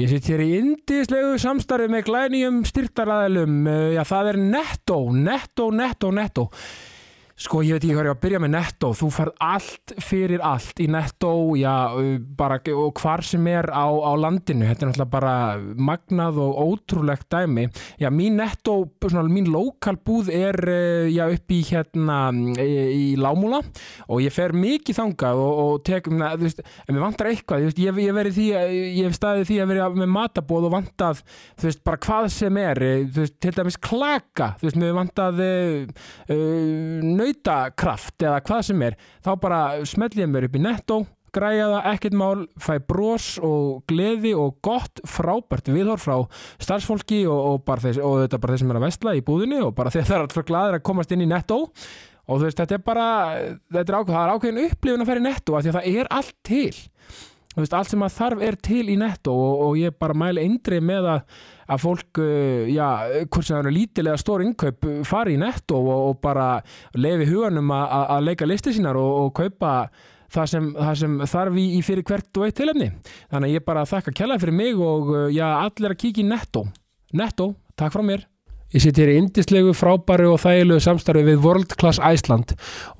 Ég sitt hér í indislegu samstarfi með glænýjum styrtaraðilum. Eh, Já, það er Netto, Netto, Netto, Netto. Sko, ég veit ekki hvað ég á að byrja með Netto. Þú færð allt fyrir allt í Netto, já, eh, bara og hvar sem er á, á landinu. Þetta er náttúrulega bara magnað og ótrúlegt dæmi. Já, mín Netto, svona, mín lokalbúð er, eh, já, upp í hérna eh, í Lámúla og ég fer mikið þangað og, og tekum, na, þú veist, en mér vantar eitthvað, þú veist, ég, ég verið því, að- ég hef staðið því að vera með matabóð og vantað, þú veist, bara hvað sem er, eh, þú veist, til dæmis klaka, þú veist, mér hefur vantað uh, uh, nautakraft eða hvað sem er, þá bara smelli ég mér upp í nettó, græja það, ekkert mál, fæ brós og gleði og gott frábært viðhorf frá starfsfólki og, og, bara þess, og þetta bara þeir sem er að vestla í búðinni og bara þeir það er alltaf glaðir að komast inn í nettó og þú veist, þetta er bara eh, þetta er ákveð, það er ákveðin upplifun að fara í netto af því að það er allt til þú veist, allt sem að þarf er til í netto og, og ég bara mæli eindrið með að, að fólk, uh, já, hvort sem það eru lítilega stór innkaup, uh, fari í netto og, og bara leifi huganum að- að að leika listi sínar og, og kaupa það sem, það sem þarf í, í fyrir hvert og eitt tilefni. Þannig að ég bara þakka kjallaði fyrir mig og uh, já, allir að kíkja í netto. Netto, takk frá mér. Ég sitt hér í indislegu, frábæru og þægilegu samstarfi við World Class Æsland.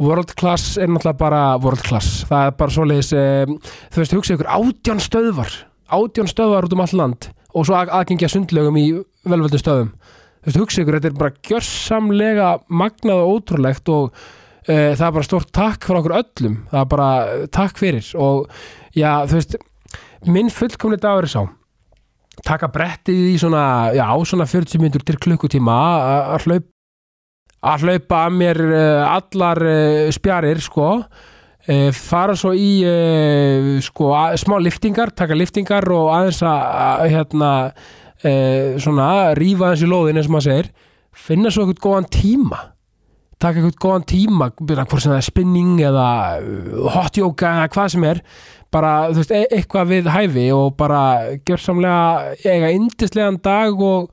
World Class er náttúrulega bara World Class. Það er bara svoleiðis, um, þú veist, hugsa ykkur, átján stöðvar, átján stöðvar út um all land og svo að- aðgengja sundlögum í velvöldu stöðum. Þú veist, hugsa ykkur, þetta er bara gjörsamlega magnað og ótrúlegt og uh, það er bara stórt takk frá okkur öllum. Það er bara eh, takk fyrir og já, þú veist, minn fullkomni dagur er sá taka brettið í svona, já, svona 40 mínútur til klukkutíma að- að hlaupa að hlaupa að mér eh, allar eh, spjarir sko eh, fara svo í eh, sko að- smá liftingar, taka liftingar og aðeins að, að hérna eh, svona rífa aðeins í lóðin eins og maður segir, finna svo eitthvað góðan tíma taka eitthvað góðan tíma byrja hvort sem það er spinning eða uh, hot yoga eða hvað sem er bara þú veist, e eitthvað við hæfi og bara gjörsamlega eiga yndislegan dag og,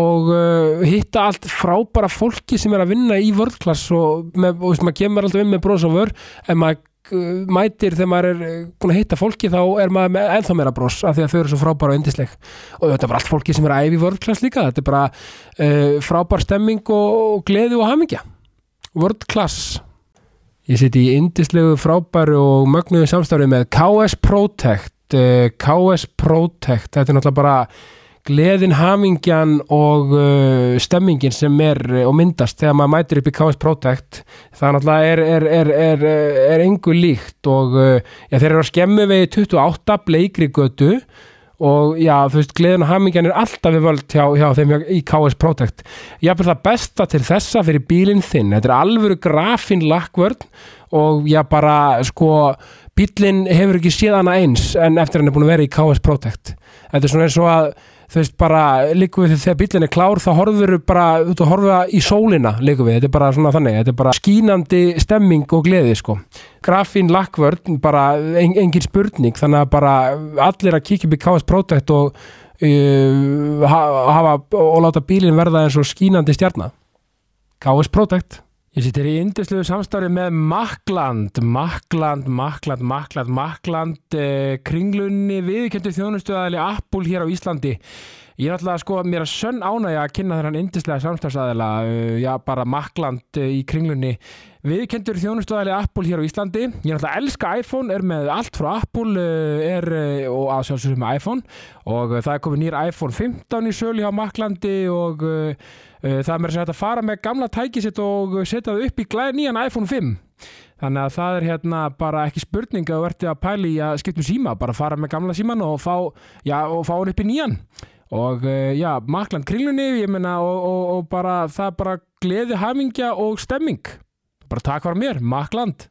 og uh, hitta allt frábæra fólki sem er að vinna í vörðklass og, með, og veist, maður kemur alltaf inn með bros og vör en maður uh, mætir þegar maður er uh, búin að hitta fólki þá er maður með ennþá meira bros af því að þau eru svo frábæra og yndisleg og þetta er bara allt fólki sem er að æfi vörðklass líka þetta er bara uh, frábær stemming og, og gleði og hamingja World Class Ég siti í indislegu frábæru og mögnuðu samstarfi með KS Protect Eh, KS Protect, þetta er náttúrulega bara gleðin, hamingjan og uh, stemmingin sem er eh, og myndast þegar maður mætir upp í KS Protect það náttúrulega er, er, er, er, er, er engu líkt og uh, já, þeir eru á skemmu vegi 28 bleikri götu og já, þú veist, gleðin og hamingjan er alltaf við völd hjá, hjá þeim hjá- í KS Protect jafnvel það besta til þessa fyrir bílinn þinn. Þetta er alvöru grafin lakkvörn og já bara sko bílinn hefur ekki séð hana eins en eftir hann er búin að vera í KS Protect. Þetta er svona eins og að þú veist bara líku við þegar bílinn er klár þá horfur bara út að horfa í sólina líku við. Þetta er bara svona þannig. Þetta er bara skínandi stemming og gleði sko. Grafin lakkvörn bara en, engin spurning þannig að bara allir að kíkja upp í KS Protect og uh, ha- hafa og láta bílinn verða eins og skínandi stjarnar KS Protect Ég sittir í indisluðu samstarfi með Makland, Makland, Makland, Makland, Makland, eh, kringlunni viðkjöndu þjónustuðaðali Apple hér á Íslandi. Ég er alltaf sko mér að sönn ánægja að kynna þennan indislega samstarfsaðila, eh, já bara Makland eh, í kringlunni Viðkendur þjónustuðæli Apple hér á Íslandi. Ég náttúrulega elska iPhone, er með allt frá Apple eh, er, eh, og að sjálfsögum með iPhone og eh, það er komið nýr iPhone 15 í sölu hjá Maklandi og uh, uh, það er mér að segja hægt að fara með gamla tækisitt og eh, setja það upp í glæð nýjan iPhone 5. Þannig að það er hérna bara ekki spurning að þú ert að pæli í að skiptum síma, bara fara með gamla síman og fá, já, og fá hann upp í nýjan. Og eh, já, Makland kringlunni, ég meina, og, og, og bara, það er bara gleði, hamingja og stemming bara takk var mér, Makland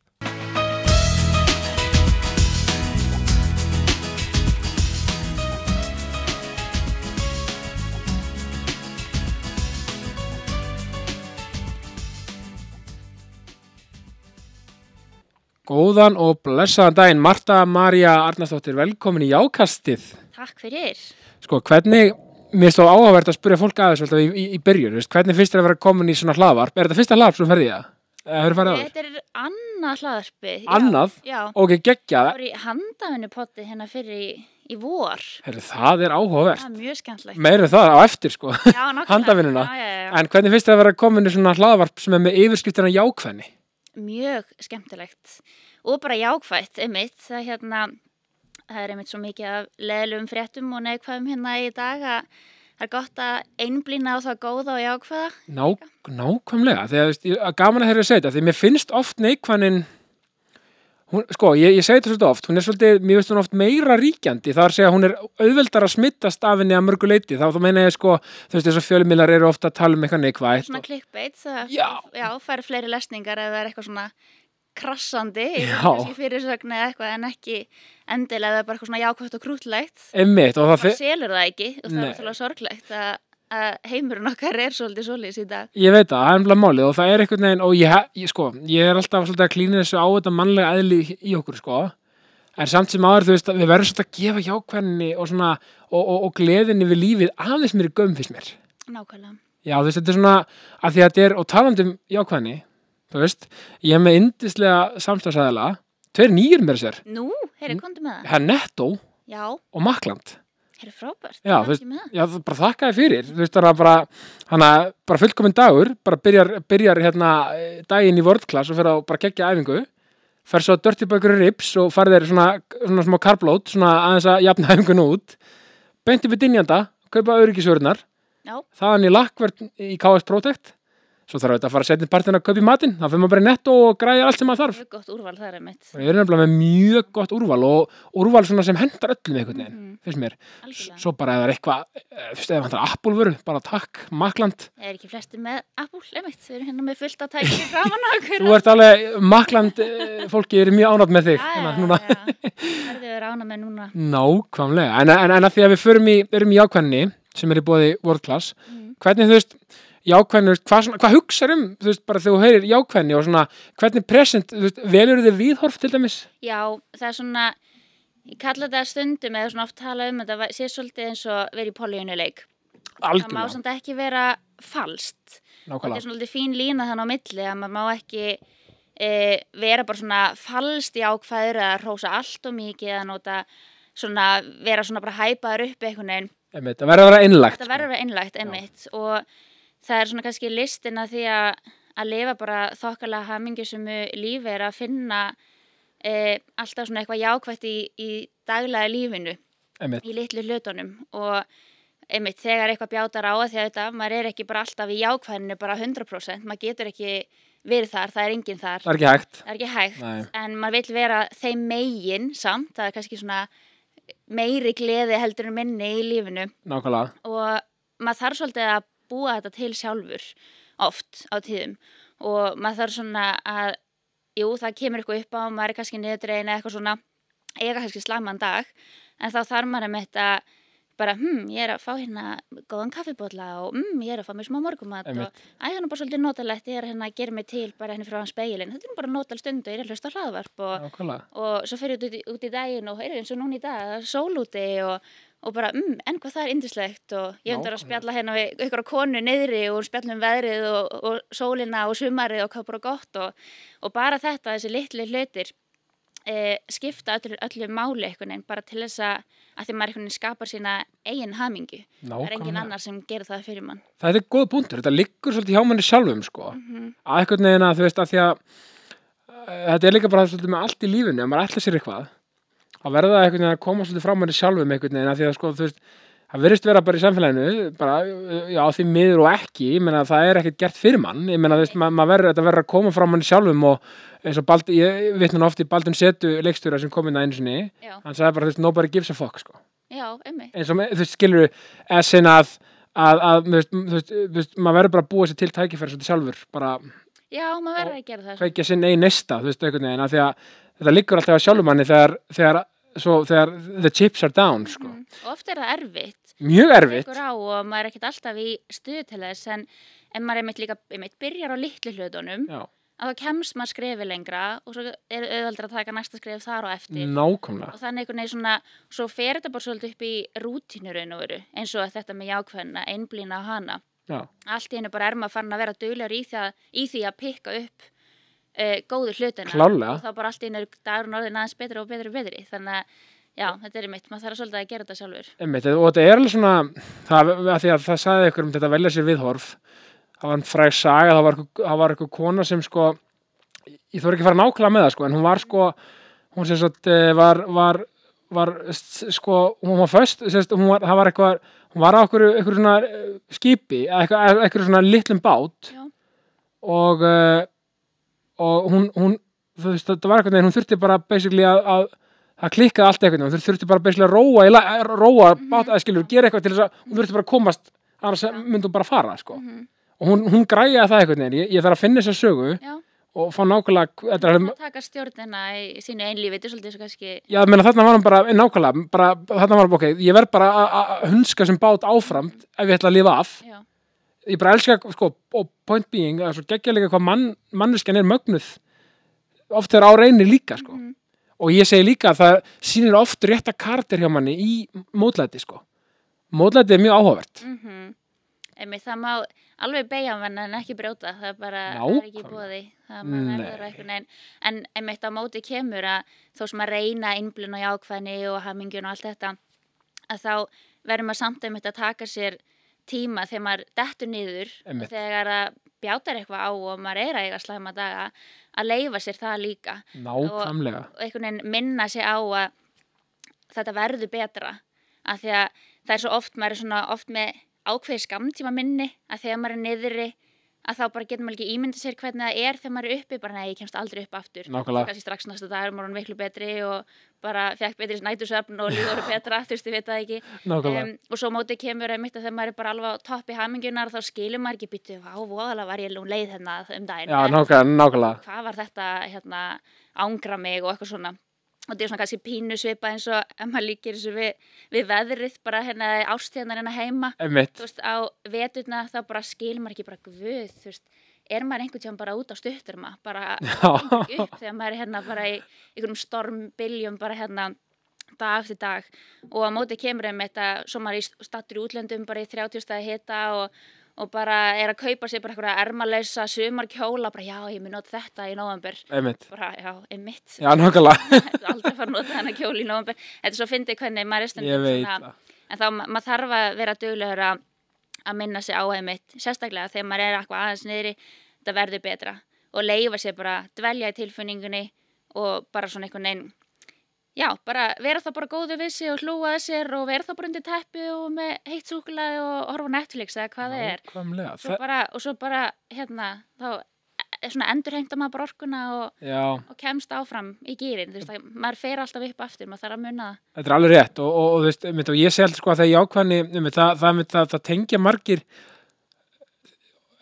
Góðan og blessaðan daginn, Marta María Arnarsdóttir, velkomin í Jákastið. Takk fyrir. Sko, hvernig, mér stóð áhugavert að spyrja fólk aðeins velta, í, í, í byrjun, veist, hvernig fyrst er að vera komin í svona hlaðvarp? Er þetta fyrsta hlaðvarp sem þú ferði í það? Eða hefur farið áður? Þetta er annað hlaðarpið. Annað? Já. já. Ok, geggjað. Það voru í handafinnu potti hérna fyrir í í vor. Heru, það er áhugavert. Það er mjög skemmtilegt. Meira um það á eftir sko. Já, nákvæmlega. handavinnuna. Já, já, já. En hvernig finnst þér að vera kominu svona hlaðvarp sem er með yfirskriftina jákvæðni? mjög skemmtilegt og bara jákvætt, einmitt það, er hérna, það er einmitt svo mikið af leðlum fréttum og neikvæðum hérna í dag að það er gott að einblýna á það góða og jákvæða Ná, nákvæmlega. Þegar veist, ég- að gaman að þeirra að segja þetta. Því mér finnst oft neikvæðnin, hún, sko, ég, ég segi þetta svolítið oft, hún er svolítið, mér finnst hún oft meira ríkjandi. Það er að segja að hún er auðveldar að smittast af henni að mörgu leiti. Þá, þá meina ég sko, þú veist, þess að fjölmiðlar eru ofta að tala um eitthvað neikvætt. svona og- klikkbeitt, það Já. já, fær fleiri lesningar eða það er eitthvað svona krassandi, Já. kannski fyrirsögn eða eitthvað en ekki endilega það er bara eitthvað svona jákvætt og krútlegt Einmitt, og það bara fe- selur það ekki og það Nei. er alltaf sorglegt að, að heimurinn okkar er svolítið svolítið í dag Ég veit það, það er ennfla málið og það er einhvern veginn og ég, ég, sko, ég er alltaf svolítið að klína þessu á þetta mannlega eðli í- í okkur sko. en samt sem áður þú veist að við verðum svolítið að gefa hjákvæðinni og, svona, og, og, og gleðinni við lífið aðeins mér í göm fyrst mér nákvæmlega, Já, þú veist, þetta er svona að því að þetta er og talandi um hjákvæðinni þú veist, ég er með yndislega samstagsæðala tveir nýjur mér sér nú, Mm. heyri, komdu með það það er Netto já, og Makland heyri, frábært, Já, þú ég er veist- ekki með það Já, það bara þakkaði fyrir, þú veist, það er bara, hana, bara fullkominn dagur, bara byrjar, byrjar hérna eh, daginn í World Class og fer á bara geggja æfingu, fer svo að dörti bökur rips og farið þeir svona, svona smá karblót, svona aðeins að jafna æfingun út, beinti við dynjanda, kaupa öryggisvörunar, já, þaðan í lakkvörn í KS Protect, svo þarf þetta að fara að setja partin að kaupa í matinn, þá fyrir maður bara í netto og græja allt sem maður þarf. mjög gott úrval þar er mitt Við erum nefnilega með mjög gott úrval og úrval svona sem hendar öllum einhvern veginn, Mhm. finnst mér. S- algjörlega. Svo bara ef það er eitthvað, eh, þú veist, ef það er appulvöru, bara takk, makland. Það er ekki flesti með Apple, einmitt, við erum hérna með fullt að tækja framan á okkur. Þú ert alveg, makland eh, fólki er mjög ánátt með þig. hérna, núna. já, verðum við rána með núna. Nákvæmlega, en, en, en að því að við förum í, erum í jákvæðinni sem er í bóði World Class, Mm. hvernig þú veist, jákvæðinni, þú veist, hvað, svona- hvað hugsar um, þú veist, bara þegar þú heyrir jákvæðinni og svona, hvernig present, þú veist, velur þið viðhorf til dæmis? Já, það er svona, ég kalla þetta stundum eða svona oft tala um þetta, sé svolítið eins og verið í políunuleik. Það má Algjörlega, samt ekki vera falst. Þetta er nákvæmlega, svona lítið fín lína þannig á milli að maður má ekki e, vera bara svona falst í ákvæður eða rósa allt og mikið eða nota svona, vera svona bara hæpaður upp einhvern veginn. einmitt, það verður að vera innlagt. þetta verður að vera einlægt einmitt og það er svona kannski listin að því að að lifa bara þokkalega hamingjusömu lífi er að finna e, alltaf svona eitthvað jákvætt í, í daglega lífinu Einmitt, í litlu hlutunum og einmitt þegar eitthvað bjátar á að því að þetta maður er ekki bara alltaf í jákvæðinu bara 100% maður getur ekki verið þar, það er enginn þar það er ekki hægt. það er ekki hægt Nei. en maður vil vera þeim megin samt, það er kannski svona meiri gleði heldur en minni í lífinu Nákvæmlega, og maður þarf svolítið að búa þetta til sjálfur oft á tíðum og maður þarf svona að jú, það kemur eitthvað upp á, maður er kannski niðurdregin eða eitthvað svona, eiga kannski slaman dag en þá þarf maður um þetta bara, hm, ég er að fá hérna góðan kaffibólla og hm, ég er að fá mér smá morgumat Einmitt. og æ, það er nú bara svolítið notalegt, ég er hérna að gera mig til bara henni frá hans speilin, þetta er nú bara notal stund og ég er að hlusta á hlaðvarp og nákvæmlega. og svo fer ég út, í- út í daginn og heyrðu eins og núna í dag, það er sól úti og, og bara, mm, en hvað það er indislegt og ég hefndar Nákvæmlega. að spjalla hérna við ykkur konu niðri og spjalla um veðrið og, og sólina og sumarið og hvað bara gott og, og bara þetta, þessi litli hlutir e, skipta öllu, öllu máli einhvern veginn, bara til þess að, að því maður einhvern veginn skapar sína eigin hamingu, það er engin Nákvæmlega. annar sem gerir það fyrir mann. þetta er góð punktur, þetta liggur svolítið hjá manni sjálfum sko, að einhvern veginn að þú veist að því að eh, þetta er líka bara svolítið með allt í lífinu, ef maður ætla sér eitthvað að verða það einhvern veginn að koma svolítið frá manni sjálfum einhvern veginn að því að sko, þú veist það verðist vera bara í samfélaginu bara, eh, já, því miður og ekki, ég meina það er ekkert gert fyrir mann, ég meina þú veist, ma maður verður þetta verður að koma frá manni sjálfum og eins og Bald, ég vitna nú oft í Baldun Setu leikstjóra sem kom inn að einu sinni, Já, hann sagði bara, þú veist, nobody gives a fuck sko já, ummi, eins og þú veist, skilur essin að, að, að þú veist, þú veist, þú veist, maður verður bara að búa sér til tækifæri svolítið sjálfur, bara já, maður verður að gera það. kveikja sinn einn nesta, þú veist, einhvern veginn af því að þetta liggur alltaf að sjálfum manni þegar, þegar, svo, þegar the chips are down, sko. Mm. Og oft er það erfitt, Mjög erfitt, tekur á og maður er ekkert alltaf í stuð til þess en, en maður er mitt líka einmitt byrjar á litlu hlutunum já, að þá kemst maður skrefi lengra og svo er auðvaldra að taka næsta skref þar og eftir nákvæmlega, og þannig einhvern veginn svona svo fer þetta bara svolítið upp í rútinu raun og veru eins og þetta með jákvæðina, einblýna á hana já, allt í hennu bara er maður farin að vera duglegur í, það, í því að pikka upp uh, góðu hlutina Klárlega. og þá bara allt í hennu dagur og norðin aðeins betri og betri og betri þannig að já, þetta er mitt, maður þarf svolítið að gera þetta sjálfur Einmitt, og þetta er alveg svona það, að því að það sagði ykkur um þetta velja sér viðhorf það var en fræg saga það var, einhver- það var ykkur kona sem sko ég þarf ekki að fara nákvæmlega með það sko en hún var sko hún sem sagt eh, var, var, var s- sko hún var föst sem sagt, hún var, það var eitthvað hún var á ykkur, ykkur svona eh, skipi eða eitthvað, eitthvað svona litlum bát Já. og eh, og hún, hún þú veist þetta var eitthvað en hún þurfti bara basically að, að það klikkaði allt einhvern veginn, hún þurfti bara basically að róa, í la- að róa Mhm. bát, að skilur, gera eitthvað til þess að hún þurfti bara að komast, annars myndi hún bara fara sko. Mhm. og hún, hún græjaði það einhvern veginn ég, ég þarf að finna þessa sögu já, og fá nákvæmlega, þetta er að taka stjórnina í, í sínu einlífi, þetta er svolítið svo kannski Já, meina, þarna var hann bara, eh, nákvæmlega, bara, þarna var hann, ok, ég verð bara að- að að hundska sem bát áfram ef ég ætla að lifa af. já, Ég bara elska, sko, og point being, að svo geggja líka hvað mann, manneskjan er mögnuð oft þegar á reynir líka, sko. Mhm. Og ég segi líka að það sýnir oft rétta kardir hjá manni í mótlæti, sko. Mótlæti er mjög áhugavert. mhm Einmitt, það má alveg beigja hann en ekki brjóta, það er bara það er ekki Nákvæmlega. bóði, það mann er það Nei. eitthvað neginn. En einmitt á móti kemur að þó sem að reyna innblun og jákvæðni og hamingjun og allt þetta, að þá verður maður samt einmitt að taka sér tíma þegar maður dettur niður Einmitt. og þegar það bjátar eitthvað á og maður er að eiga slæma daga að leifa sér það líka Nákvæmlega. Mhm. og einhvern veginn minna sig á að þetta verður betra af því að það er svo oft maður er svona oft með ákveði skamtíma minni að þegar maður er niðri að þá bara getur maður ekki ímynda sér hvernig það er þegar maður er uppi, bara nei, ég kemst aldrei upp aftur Nákvæmlega. kannski strax næsta dag er maður orðinn miklu betri og bara fekk betri nætursöfn og líður betra, þú veist, ég veit það ekki Nákvæmlega. um, og svo mótið kemur einmitt að þegar maður er bara alveg á toppi hamingunar þá skilur maður ekki býttu, vá, voðalega var ég nú leið hérna um daginn Já, En- nákvæmlega, nákvæmlega. hvað var þetta hérna, ángra mig og eitthvað svona og þetta er svona kannski pínu svipa eins og ef maður líkir þessu við, við veðrið bara hérna ástíðanar hérna heima Einmitt. þú veist á veturna þá bara skil maður ekki bara guð þú veist er maður einhvern tíðan bara út á stutturma bara gengur ekki upp þegar maður er hérna bara í einhverjum stormbiljum bara hérna dag eftir dag og á móti kemur þeim þetta svo maður er í stattur í útlöndum bara í 30 staði hita og, og bara er að kaupa sér bara eitthvað ermaleysa sumar kjóla bara já ég mun nota þetta í november Einmitt. bara já, einmitt Já, nákvæmlega. aldrei fara að nota þennan kjóla í november þetta er svo fyndið hvernig maður er Ég stundum veit svona það. en þá ma- maður þarf að vera duglegur að að minna sig á einmitt sérstaklega þegar maður er eitthvað aðeins niðri þetta verður betra og leifa sér bara dvelja í tilfunningunni og bara svona einhvern veginn já, bara vera það bara góðu vissi og hlúa að sér og vera það bara undir teppi og með heitt súklaði og horfa á Netflix eða hvað það er Nákvæmlega. svo Það, bara, og svo bara hérna þá e- svona endurheimta maður bara orkuna og, já. og kemst áfram í gýrin þú veist að maður fer alltaf upp aftur maður þarf að munna það Þetta er alveg rétt og, og, og, þú veist, einmitt, og ég segi alltaf sko að það er jákvæðni, einmitt, það, það, einmitt, það, það tengja margir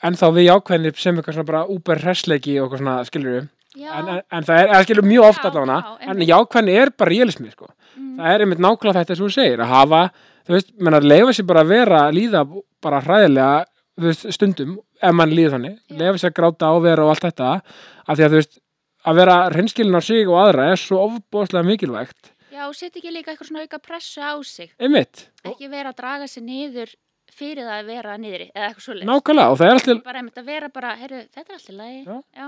en þá við jákvæðni sem eitthvað svona bara úber hressleiki og eitthvað svona skilur við. já, En, en, en það er, eða skilur mjög oft Já, allavega, já, en einmitt. Mm. jákvæðni er bara realismi sko. Það er einmitt nákvæmlega þetta sem þú segir, að hafa, þú veist, menn að leifa sér bara að vera, líða bara hræðilega, þú veist, stundum, ef mann líður þannig, Já. leifa sér að gráta og vera og allt þetta, af því að þú veist, að vera hreinskilin á sig og aðra er svo ofbóðslega mikilvægt. já, og setja ekki líka eitthvað svona auka pressu á sig Einmitt. ekki vera að draga sér niður fyrir það að vera niðri eða eitthvað svoleiðis. Nákvæmlega, og það er alltaf, Bara einmitt að vera bara, heyrðu, þetta er alltaf lægi. Já. Já,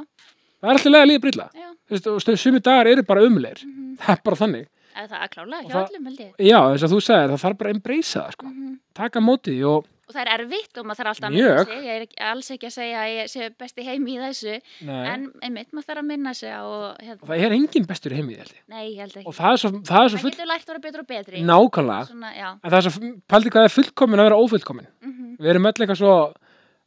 það er alltaf lega líða brilla. já. Þú veist, og sumi dagar eru bara umleir. Mhm. Það er bara þannig. Eða það er klálega, Og hjá það- öllum held ég. Já, þess að þú sagðir, það þarf bara að embracea það, sko. Mhm. Taka mótið því og, Og það er erfitt og maður þarf alltaf að Mjög. minna sig. Ég er ekki, alls ekki að segja að ég sé besti heim í þessu. nei, En einmitt, maður þarf að minna sig á og og hérna, það er engin bestur í heimið, held ég. nei, ég held ekki. Og það er svo, það er svo maður full, getur lært að vera betur og betri. nákvæmlega, Svona, já. en það er svo, pældi hvað það er fullkomin að vera ófullkomin. Mhm. Við erum öll eitthvað svo,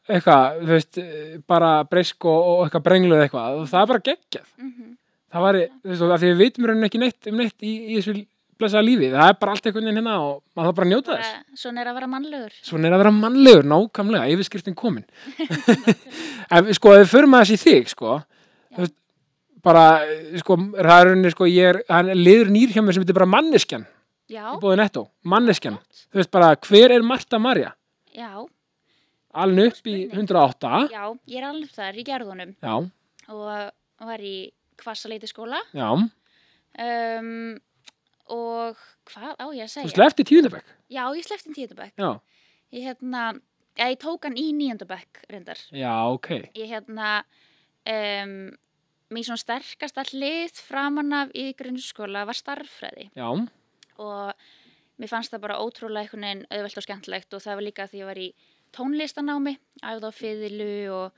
eitthvað, þú veist, eh, bara breysk og, og eitthvað brengluð eitthvað, og það er bara geggjað. Mhm. Það var, þú veist, og af því við vitum í rauninni ekki neitt um neitt í, í þessu blessaða lífi, það er bara allt einhvern veginn hérna og maður þarf bara að njóta þess. Bara, svona er að vera mannlegur. Svona er að vera mannlegur, nákvæmlega, yfirskriftin komin. en við- sko, ef við förum að þessi þig, sko, þú veist, bara, eh, sko, það er rauninni, sko, ég er, hann liður nýr hjá mér sem heitir bara manneskjan, Já, í bóði nettó, manneskjan. Þú veist bara, hver er Marta Marja? já, Alveg upp í 108, já, ég er alveg þar í gerðunum já, og var í kvassaleiti skóla. já, um, og hvað á ég að þú segja? slefti tíundabæk, Já, ég sleppti í tíundabæk. já, Ég hérna, eða ég tók hann í níundabæk reyndar. já, ok, Ég hérna, um, mér svona sterkasta hlið framan af í grunnskóla var starffræði já, og mér fannst það bara ótrúlega einhvern veginn auðvelt og skemmtilegt og það var líka því ég var í tónlistanámi, æfði á fiðlu og,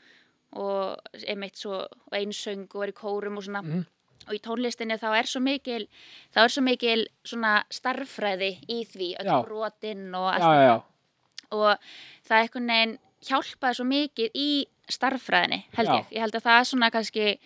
og einmitt svo og einsöng og var í kórum og svona Mhm. og í tónlistinni þá er svo mikil þá er svo mikil svona starffræði í því, öll Já. brotinn og allt já, já, já. og það einhvern veginn hjálpaði svo mikið í starffræðinni, held Já. ég. Ég held að það er svona kannski,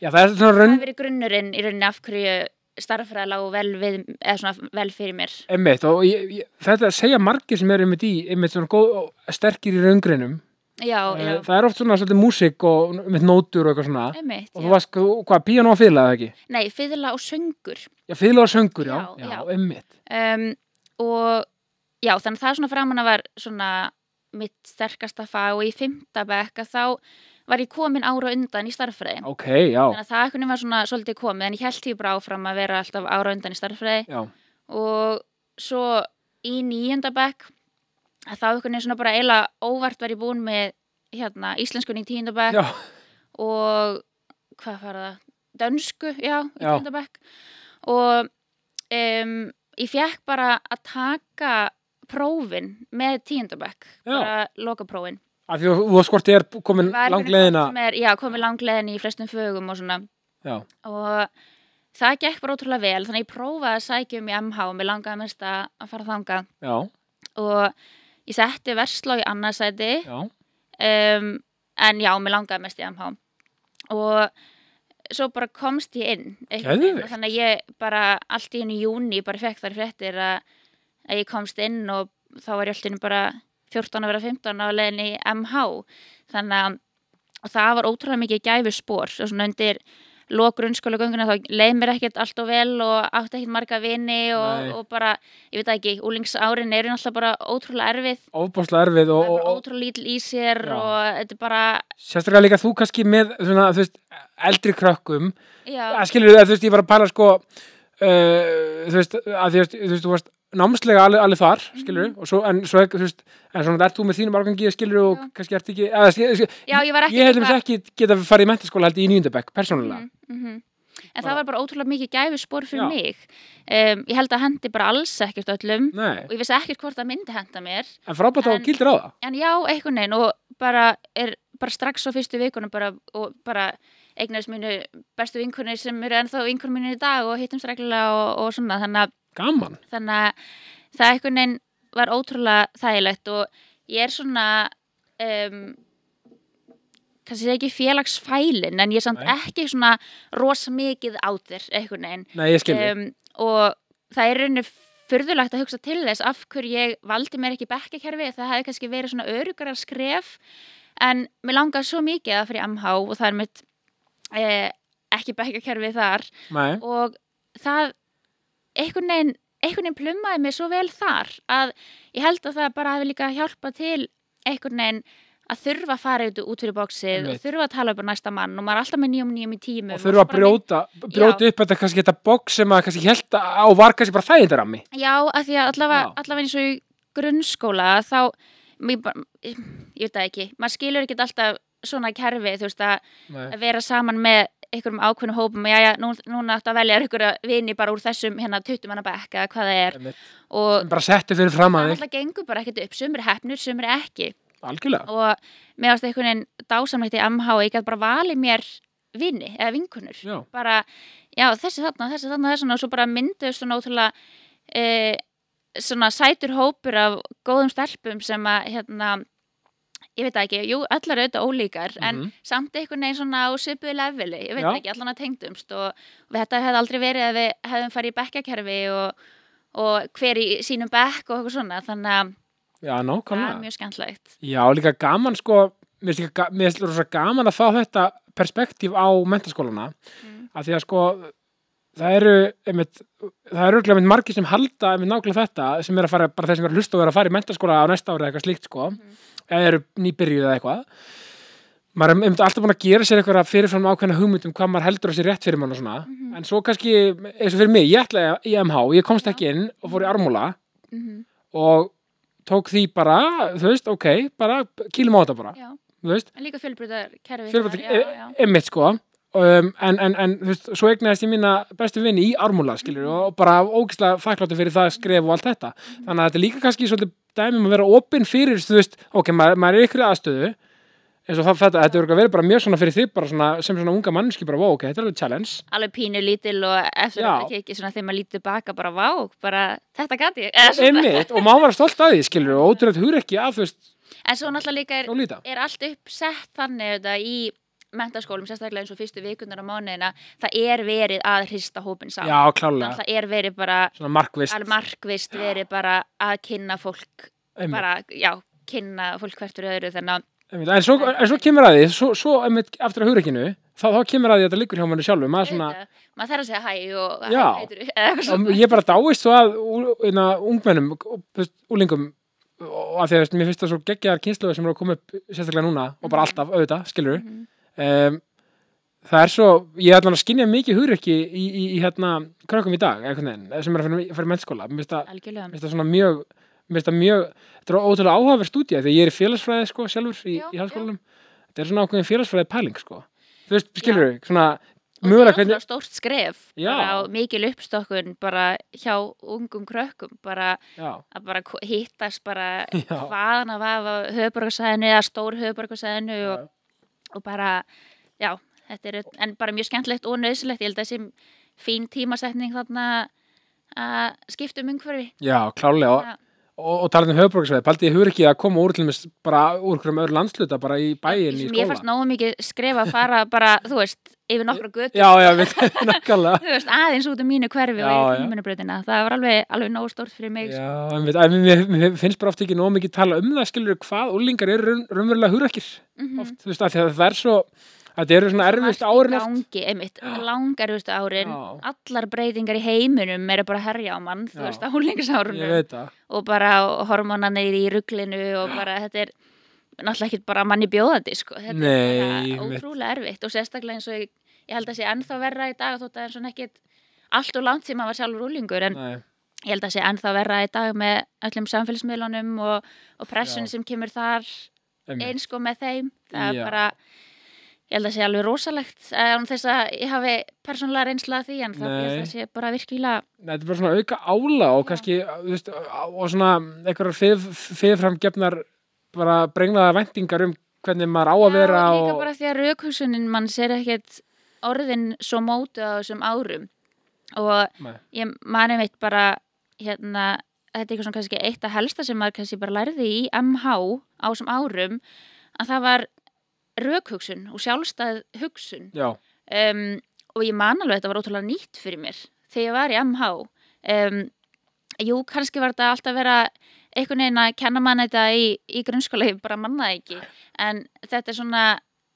Já, það er svona það raun, hefur verið grunnurinn í rauninni af hverju starffræði lág vel, við, eða svona vel fyrir mér. einmitt, og ég, ég, þetta segja margir sem eru einmitt í, einmitt svona góð, og sterkir í raungrinum. Já, já, Eh, Það er oft svona svolítið músík og einmitt nótur og eitthvað svona. einmitt. Og Já. þú varst, þú- hvað, píano og fiðla eða ekki? Nei, fiðla og söngur. Já, fiðla og söngur, já. Já, Já, já. einmitt. Um, og já, þannig að það svona framan að var svona mitt sterkasta fag og í fimmta bekk að þá var ég komin ára undan í starffræði. Ok, já, Þannig að það einhvern veginn var svona svolítið komið en ég held því bara áfram að vera alltaf ára undan í starffræði já, og svo í nýjönda bekk að þá einhvern veginn svona bara eiginlega óvart var ég búin með hérna íslenskunni í tíunda bekk já, og hvað var það? Dönsku, já, í Já. tíunda bekk og um, ég fekk bara að taka prófin með tíunda bekk Já. bara lokaprófin af því að þú skorti er komin Var langleðina. einhvern veginn hérna sem er, já, komið langleðin í flestum fögum og svona Já, og það gekk bara ótrúlega vel þannig að ég prófaði að sækja um í MH og mér langaði mest að að fara þangað já, og ég setti verslá í annarsæti já, um, en já, mér langaði mest í MH og svo bara komst ég inn einhvern veginn. Geðveikt. Og þannig að ég bara allt í henni júni bara fekk þar fréttir að, að ég komst inn og þá var ég alltaf henni bara 14 að vera 15 á leiðinni í MH þannig að og það var ótrúlega mikið gæfi spór og svona undir lok grunnskóla þá leið mér ekkert allt og vel og átti ekkert marga vini Nei. og, og bara, ég veit það ekki, úlingsárin eru náttúrulega bara ótrúlega erfið ofbáslega erfið það og, er og, bara og ótrúlega lítil í sér Já. og þetta er bara sérstaklega líka þú kannski með svona, þú veist, eldri krökkum já, að skilur þú, þú veist, ég var að pæla sko uh, þú veist, að því að þú veist, þú varst námslega alveg, alveg þar, skilur Mhm. og svo, en svo, þú veist, en svona ert þú með þínum árgangi, skilur og Já. kannski ert ekki, eða, skilur, skilur, já, ég var ekki ég hefðum ekki geta farið í mentaskóla held ég í nýjöndabæk, persónulega mm, mm, en Bara- það var bara ótrúlega mikið gæfispor fyrir Já. mig um, ég held að hendi bara alls ekkert öllum Nei, og ég vissi ekkert hvort það myndi henda mér en frábært á En- gildir á það en já, einhvern veginn og bara er bara strax á fyrstu vikunum bara, og bara eignaðist mínu bestu vinkunni sem eru ennþá vinkunni mínu í dag og hittum strækilega og, og svona þannig að Gaman, þannig að það einhvern veginn var ótrúlega þægilegt og ég er svona um, kannski ekki félagsfælin en ég er samt Nei. ekki svona rosa mikið á þér einhvern veginn nei, ég skilur um, og það er rauninu furðulegt að hugsa til þess af hverju ég valdi mér ekki bekkakerfi það hefði kannski verið svona örugara skref en mér langaði svo mikið að fyrir MH og það er mitt eh, ekki bekkakerfi þar Nei, og það einhvern veginn, einhvern veginn plummaði mig svo vel þar að ég held að það bara hefði líka hjálpa til einhvern veginn að þurfa að fara út, út fyrir bóksið og Einmitt. þurfa að tala upp á næsta mann og maður er alltaf með nýjum nýjum í tímum og þurfa að svo bara brjóta, brjóta upp þetta kannski þetta bók sem að kannski held á var kannski bara þægindar af mig með- Já, af því að allavega, Já. allavega eins og í grunnskóla þá mér bara- ég veit það ekki, maður skilur ekki alltaf svona kerfi, þú veist að Nei, að vera saman með einhverjum ákveðnum hópum og jæja, nú, núna áttu að velja ykkur að vini bara úr þessum hérna 20 manna bekk eða hvað það er einmitt. og bara settu fyrir fram það að þig náttúrulega gengur bara ekkert upp, sumir hefnur, sumir ekki Algjörlega, og mér varst einhvern veginn dásamlegt í MH og ég gæti bara valið mér vini eða vinkunur já, bara, já, þessi þarna, þessi þarna, þessi þarna og svo bara mynduðust svona ótrúlega e, svona sætur hópur af góðum stelpum sem að hérna, ég veit það ekki, jú, allar eru auðvitað ólíkar en Mhm. samt einhvern veginn svona á svipuðu leveli, ég veit Já. það ekki, allan að tengdumst og, og þetta hefði aldrei verið að við hefðum farið í bekkakerfi og, og hver í sínum bekk og eitthvað svona, þannig að já, það nákvæmlega er mjög skemmtlegt Já, líka gaman sko mér finnst líka ga- mér finnst rosa gaman að fá þetta perspektíf á mentaskólana Mm. af því að sko það eru einmitt, það eru örugglega einmitt margir sem halda einmitt nákvæmlega þetta sem er að fara, bara þeir sem eru að hlusta og eru að fara í mentaskóla á næsta ári eða eitthvað slíkt sko eða eru nýbyrjuð eða eitthvað maður er einmitt alltaf búin að gera sér eitthvað fyrirfram ákveðna hugmyndum hvað maður heldur á sér rétt fyrir mann og svona en svo kannski, eins og fyrir mig, ég ætlaði í MH, ég komst ekki inn og fór í armúla mm og tók því bara, þú veist, ok, bara kýlum á þetta bara, já, þú veist, en líka fjölbrytar kerfi fjölbreytni, já, já, einmitt sko, um, en, en, en þú veist, svo eignaðist ég mína bestu vinni í ármúla skilur Mhm. og bara ógislega þakkláttu fyrir það skref og allt þetta þannig að þetta er líka kannski svolítið dæmi um að vera opinn fyrir þú veist, ok, maður, maður er ykkur aðstöðu eins og það, þetta, þetta er örugglega verið bara mjög svona fyrir þig bara svona, sem svona unga mannski bara, wow, ok, þetta er alveg challenge alveg pínu lítil og eftir Já. ekki ekki svona þegar maður lítið baka bara vá, bara þetta gæti ég Eða svona. einmitt, og maður var stolt að því skilur og ótrúlega hugur ekki að þú veist, en svo náttúrulega líka er, og líta er allt uppsett þannig þetta í mentaskólum, sérstaklega eins og fyrstu vikundar á mánuðina, það er verið að hrista hópin saman, já, klálega, það er verið bara svona markvist alveg markvist verið bara að kynna fólk einmitt. bara, já, kynna fólk hvert fyrir öðru þannig að, Einmitt, en, svo, en svo kemur að því, svo, svo einmitt, eftir að hugreikinu, þá, þá kemur að því að þetta liggur hjá manni sjálfu, maður svona, auðvitað, maður þarf að segja hæ og hæ, Já. heitir, eða eitthvað og svona ég bara dáist svo að ú- hérna, ungmennum, og, þú veist, úlingum, og að því að þú veist, mér finnst það svo geggjaðar kynsluður sem eru að koma upp sérstaklega núna, og bara alltaf, auðvitað, skilur, Mhm. um, það er svo, ég er allan að skinja mikið hugreiki í, í, í hérna, krökkum í dag, einhvern veginn, sem er að fyrir, fyrir mennskóla, mér finnst það algjörlega, mér finnst það svona mjög mér finnst það mjög, þetta er ótrúlega áhugaverð stúdía því að ég er í félagsfræði sko sjálfur í, Já, í halskólanum, þetta er svona ákveðin félagsfræði pæling sko, þú veist, skilur við svona, og það er mögulega náttúrulega hvernig stórt skref Já. bara á mikil uppstokkun bara hjá ungum krökkum bara já, að bara ko- hittast bara Já. hvaðan að vafa höfuborgarsæðinu eða stór höfuborgarsæðinu og, og bara, já þetta er, en bara mjög skemmtlegt og nöðsilegt ég held að þessi fín tímasetning þarna að skipta um umhverfi já, klálega og, Já. og, og talað um höfuborgarsvæði, paldi ég hugur ekki að koma úr til mér bara úr hverjum öðru landsluta bara í bæin í Sem ég skóla fannst nógu mikið skrifa að fara bara, þú veist, yfir nokkra götu já, já, við, nákvæmlega þú veist, aðeins út um mínu hverfi Já, og já. í tímunubröðina, það var alveg, alveg nógu stórt fyrir mig Já, en við, en við, við finnst bara oft ekki nóg mikið tala um það, skilur hvað úlingar eru raun, raunverulega hugrekkir Mhm. oft, þú veist, af því að það er svo þetta eru svona erfiðst árin oft gangi, einmitt, langarvistu árin Já. allar breytingar í heiminum er bara að herja á mann, þú Já. veist, á húlingsárunum ég veit það og bara hormonanir í rugglinu og bara þetta er náttúrulega ekkert bara manni bjóðandi sko. þetta Nei, er bara einmitt. ótrúlega erfitt og sérstaklega eins og ég, ég held að sé ennþá verra í dag þótt að það er svona ekkit allt og langt sem maður var sjálfur úlingur en Nei. ég held að sé ennþá verra í dag með öllum samfélagsmiðlunum og, og pressun Já. sem kemur þar einmitt. eins og með þeim það Já. er bara ég held að sé alveg rosalegt eh, án þess að ég hafi persónulega reynsla af því en það ég held Nei. að sé bara virkilega Nei, þetta er bara svona auka ála og kannski, þú veist, og svona einhverjar fyrirframgefnar bara brenglaða vendingar um hvernig maður á að vera Já, líka og bara því að raukhúsunin mann sér ekkert orðin svo mótu á þessum árum og Nei. ég mani meitt bara hérna, þetta er eitthvað svona kannski eitt að helsta sem maður kannski bara lærði í MH á þessum árum að það var raukhugsun og sjálfstæð hugsun Já, um, og ég man alveg að þetta var ótrúlega nýtt fyrir mér þegar ég var í MH um, jú, kannski var þetta alltaf vera einhvern veginn að kenna manna þetta í, í grunnskóla, ég bara manna það ekki en þetta er svona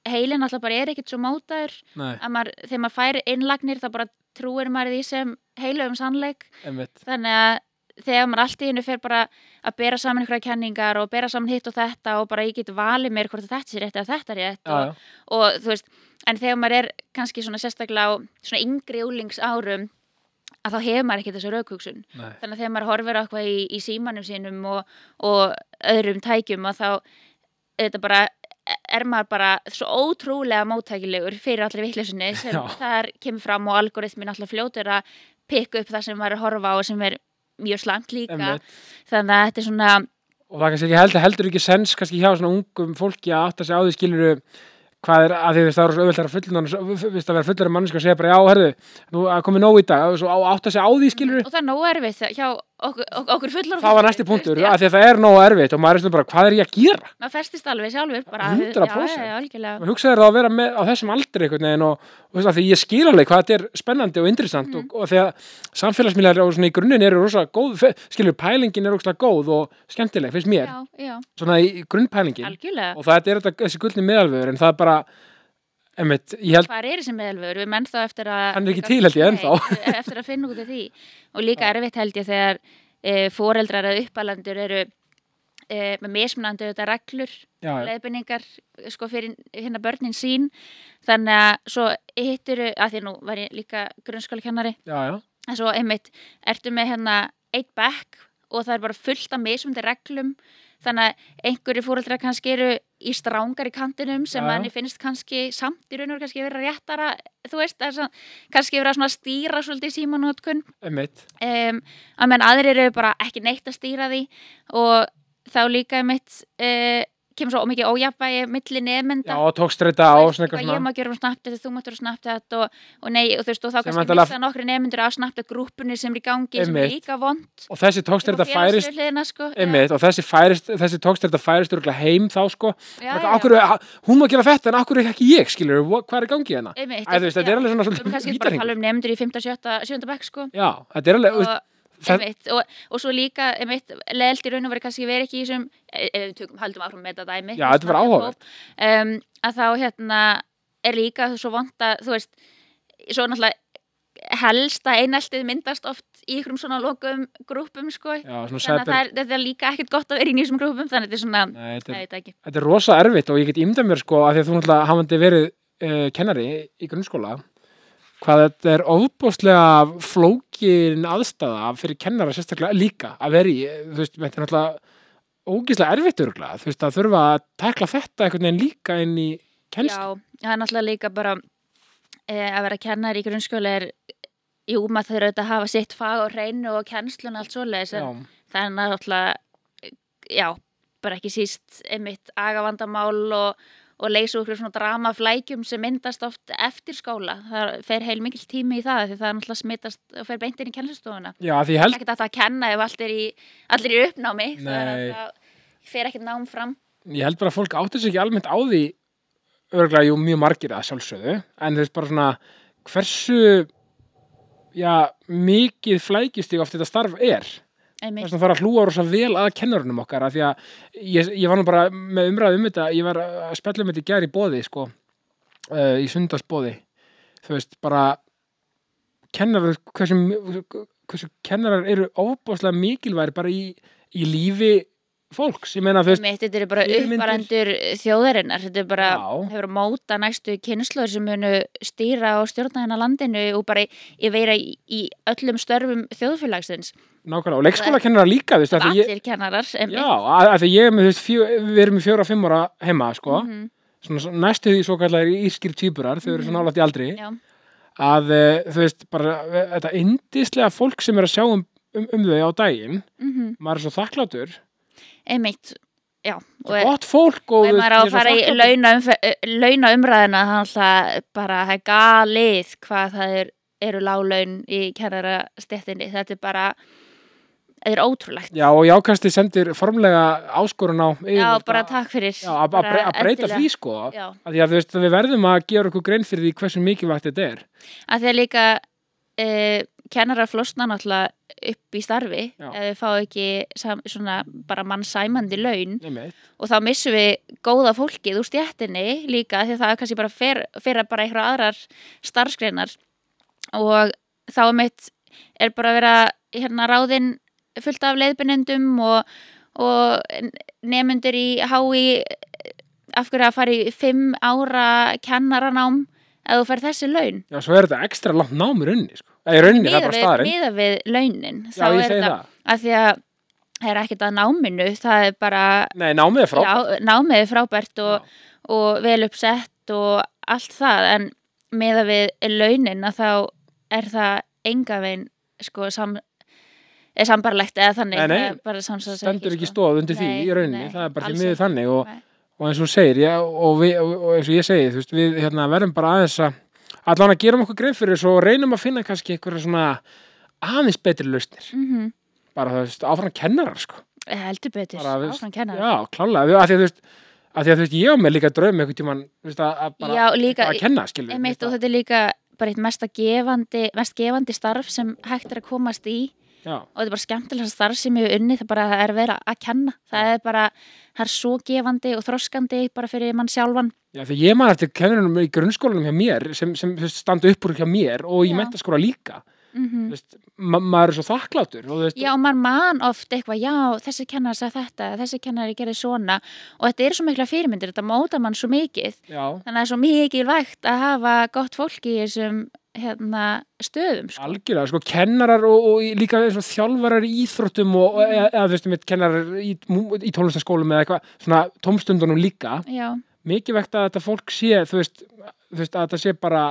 heilin alltaf bara er ekkert svo mótaður nei, að maður, þegar maður fær innlagnir þá bara trúir maður því sem heilöfum sannleik einmitt þannig að þegar maður allt í hennu fer bara að bera saman einhverja kenningar og bera saman hitt og þetta og bara ég get valið mér hvort að þetta sé rétt eða þetta er rétt Já, og, já, og þú veist, en þegar maður er kannski svona sérstaklega á svona yngri úlings árum að þá hefur maður ekki þessu raukugsun nei, þannig að þegar maður horfir á eitthvað í, í símanum sínum og, og öðrum tækjum að þá þetta bara er maður bara svo ótrúlega móttækilegur fyrir allir vittlisunni sem Já. þar kemur fram og algoritmin alltaf fljótur að pikka upp það sem maður er að horfa á og sem er mjög slangt líka einmitt þannig að þetta er svona og það er kannski ekki heldur, heldur ekki sens kannski hjá svona ungum fólki að átta sig á því skiluru hvað er að því þú veist það eru svo auðvöldar að fullina að vera fullar mannskja og segja bara já, herðu, nú að komið nóg í dag og svo á- átta sig á því skiluru og það er nóg erfið hjá okkur, okkur fullar það var næsti punktur, að því að það er nóg erfitt og maður er svona bara, hvað er ég að gera? maður festist alveg sjálfur bara 100%. já, já, já, algjörlega. maður hugsaði það að vera með á þessum aldri einhvern veginn og, og þú veist, af því ég skil alveg hvað þetta er spennandi og interessant Mm. og, og þegar samfélagsmiðlar á svona í grunninn eru rosa góð, fe- skilur pælingin er rosa góð og skemmtileg, finnst mér, já, já, svona í í grunnpælingin algjörlega og það er þetta, þessi gullni meðalvegur en það er bara, emmitt, ég held hvað er þessi meðalvegur, við menn þá eftir að Hann er ekki til, held ég, ennþá. Nei, e- eftir að finna út af því og líka erfitt held ég þegar e, foreldrar eða uppalendur eru e, með mismunandi þetta reglur já, já, leiðbendingar sko fyrir hérna börnin sín þannig að svo hittur að því nú var ég líka grunnskólakennari já, já, en svo einmitt ertu með hérna eitt bekk og það er bara fullt af mismundi reglum þannig að einhverju fóreldrar kannski eru í strángar í kantinum Já, sem ja. já. manni finnst kannski samt í raun og veru kannski vera réttara, þú veist, það er svona- kannski vera svona að stýra svolítið símanótkun einmitt um, að menn aðrir eru bara ekki neitt að stýra því og þá líka mitt uh, kemur svo mikið ójafnvægi milli Já, nefnda og tókst þetta á Þú og veist, svona eitthvað, eitthvað ég svona maður gera um Snapchat og þú maður gera um Snapchat og, og nei, og þú veist, og þá Sem kannski væntanlega- missa nokkri nefndur af Snapchat grúpunni sem er í gangi, sem er Einmitt. líka vond Og þessi tókst þetta færist hliðina, sko. einmitt, og þessi, færist, þessi tókst þetta færist örgulega heim þá sko Já, Bara, já, já. akkur, hún má gera þetta en akkur ekki ég skilur, hvað er í gangi hérna Einmitt, Æ, þú veist, þetta er já. alveg svona Við svolítið erum kannski bara að vítarhringur. tala um nefndur í 5. og 7. 7. bekk sko já, þetta er alveg og, og, það- einmitt, og, og svo líka einmitt, leðelt í raun og verið kannski verið ekki í þessum ef ef við tökum, haldum áfram með þetta dæmi Já, þetta var áhugavert. um, að þá hérna er líka svo vond að þú veist, svo náttúrulega helst að eineltið myndast oft í ykkurum svona lokum grúpum sko já, svona þannig að sæpir það er, þetta er líka ekkert gott að vera í nýsum grúpum þannig að þetta er svona, Nei, þetta, það er, veit það ekki þetta er rosa erfitt og ég get ímdað mér sko að því að þú náttúrulega hafandi verið uh, kennari í grunnskóla hvað þetta er ofbóðslega flókin aðstæða fyrir kennara sérstaklega líka að vera í, eh, þú veist, þetta er náttúrulega ógíslega erfitt örgulega, þú veist, að þurfa að tekla þetta einhvern veginn líka inn í kennslu. Já, það er náttúrulega líka bara e, að vera kennar í grunnskóla er jú, maður þurfa auðvitað að hafa sitt fag og reynu og kennslun og allt svoleiðis en það er náttúrulega já, bara ekki síst einmitt agavandamál og, og leysa okkur svona dramaflækjum sem myndast oft eftir skóla það fer heil mikil tími í það því það er náttúrulega smittast og fer beint inn í kennslustofuna já, því ég held ekkert að það kenna ef allt er í, allir í uppnámi það Nei. er að það fer ekkert nám fram ég held bara að fólk átti sig ekki almennt á því örgulega, jú, mjög margir að sjálfsögðu en þú veist bara svona hversu já, mikið flækjustíg oft þetta starf er einmitt þess að það er að hlúa rosa vel að kennarunum okkar af því að ég, ég var nú bara með umræðu um þetta, ég var að spjalla um þetta í gær í bóði, sko uh, í sundarsbóði, þú veist, bara kennarar hversu, hversu kennarar eru óbáslega mikilværi bara í, í lífi fólks, ég meina, þú veist Mitt, þetta er bara fyrirmyndir. upparandur þjóðarinnar, þetta er bara Já. hefur að móta næstu kynnslóður sem munu stýra og stjórna hérna landinu og bara ég veira í, í öllum störfum þjóðfélagsins. Nákvæmlega, og leikskólakennarar líka, þú veist, af því ég, Allir kennarar, já, einmitt. af af því ég, er með, þú veist, fjö, við erum með fjóra, fimm ára heima, sko, Mhm. svona svo- næstu því svo kallar írskir týpurar, þau eru svo nálægt í aldri, Já, að, eh, þú veist, bara eh, þetta yndislega fólk sem er að sjá um, um, um þau á daginn, mhm, maður er svo þakklátur, einmitt, já. Og, svo gott fólk og, og þú ef veist, ég maður á að er svo fara í eh, þakklátur. launa umræðina þannig að bara það er galið hvað það er, eru lálaun í kennarastéttinni. Þetta er bara, þetta er ótrúlegt. Já, og jákasti sendir formlega áskorun á Já, yfirvöld bara að- takk fyrir. Já, að- að bara bre- að breyta endilega. því, sko, Já. að því að, þú veist, við verðum að gera okkur grein fyrir því hversu mikilvægt þetta er. að því að líka e, kennarar flosna náttúrulega upp í starfi Já. ef við fá ekki sam, svona bara mannsæmandi laun Einmitt. og þá missum við góða fólkið úr stjættinni líka því að það kannski bara fer, fer að bara einhverja aðrar starfsgreinar og þá er mitt er bara að vera hérna ráðinn fullt af leiðbunendum og, og nefnundur í hái af hverju að fara í fimm ára kennaranám ef þú fær þessi laun Já, svo er þetta ekstra langt námi runni, sko. Eða í runni, það er miða bara við, staðarinn. miða við launin Já, ég segi það. að því að það er ekkert að náminu það er bara, Nei, námið er frá. já, námið er frábært og, og vel uppsett og allt það en miða við launin að þá er það enga veginn sko sam, er sambarlegt eða þannig Nei, nei, það er bara samsvarar sig stendur ekki stóð undir því sko. Nei, í rauninni, nei, það er bara því alls miður ekki. þannig og, Nei. og eins og hún segir, já, og, við, og, og eins og ég segi, þú veist, við hérna, verðum bara aðeins að allan að gerum okkur grein fyrir þessu og reynum að finna kannski einhverja svona aðeins betri lausnir, Mhm, bara þú veist, áfram kennarar, sko. heldur betur, Bara, þú veist, áfram kennar Já, klálega, af því að þú veist, af því að þú veist, ég á mig líka draum einhvern tímann, þú veist, að, að bara já líka, að kenna, skilur. einmitt og þetta er líka bara eitt mesta gefandi, mest gefandi starf sem hægt er að komast í Já, og þetta er bara skemmtilega starf sem ég hef unnið það bara er verið að kenna það er bara, það er svo gefandi og þroskandi bara fyrir mann sjálfan já, því ég man eftir kennurunum í grunnskólanum hjá mér, sem, sem þú veist, standa upp úr hjá mér og í Já. mentaskóla líka. mm þú veist, ma maður er svo þakklátur og þú veist, já, og maður man oft eitthvað já, þessi kennari sagði þetta, þessi kennari gerði svona og þetta eru svo mikla fyrirmyndir þetta móta mann svo mikið já, þannig að það er svo mikilvægt að hafa gott fólk í þessum hérna, stöðum sko. algjörlega, sko, kennarar og, og í- líka eins og þjálfarar í íþróttum og, og eða, eða, þú veist, mitt, kennarar í, mú- í tónlistaskólum eða eitthvað, svona tómstundunum líka Já, mikið vegt að þetta fólk sé, þú veist, þú veist að þetta sé bara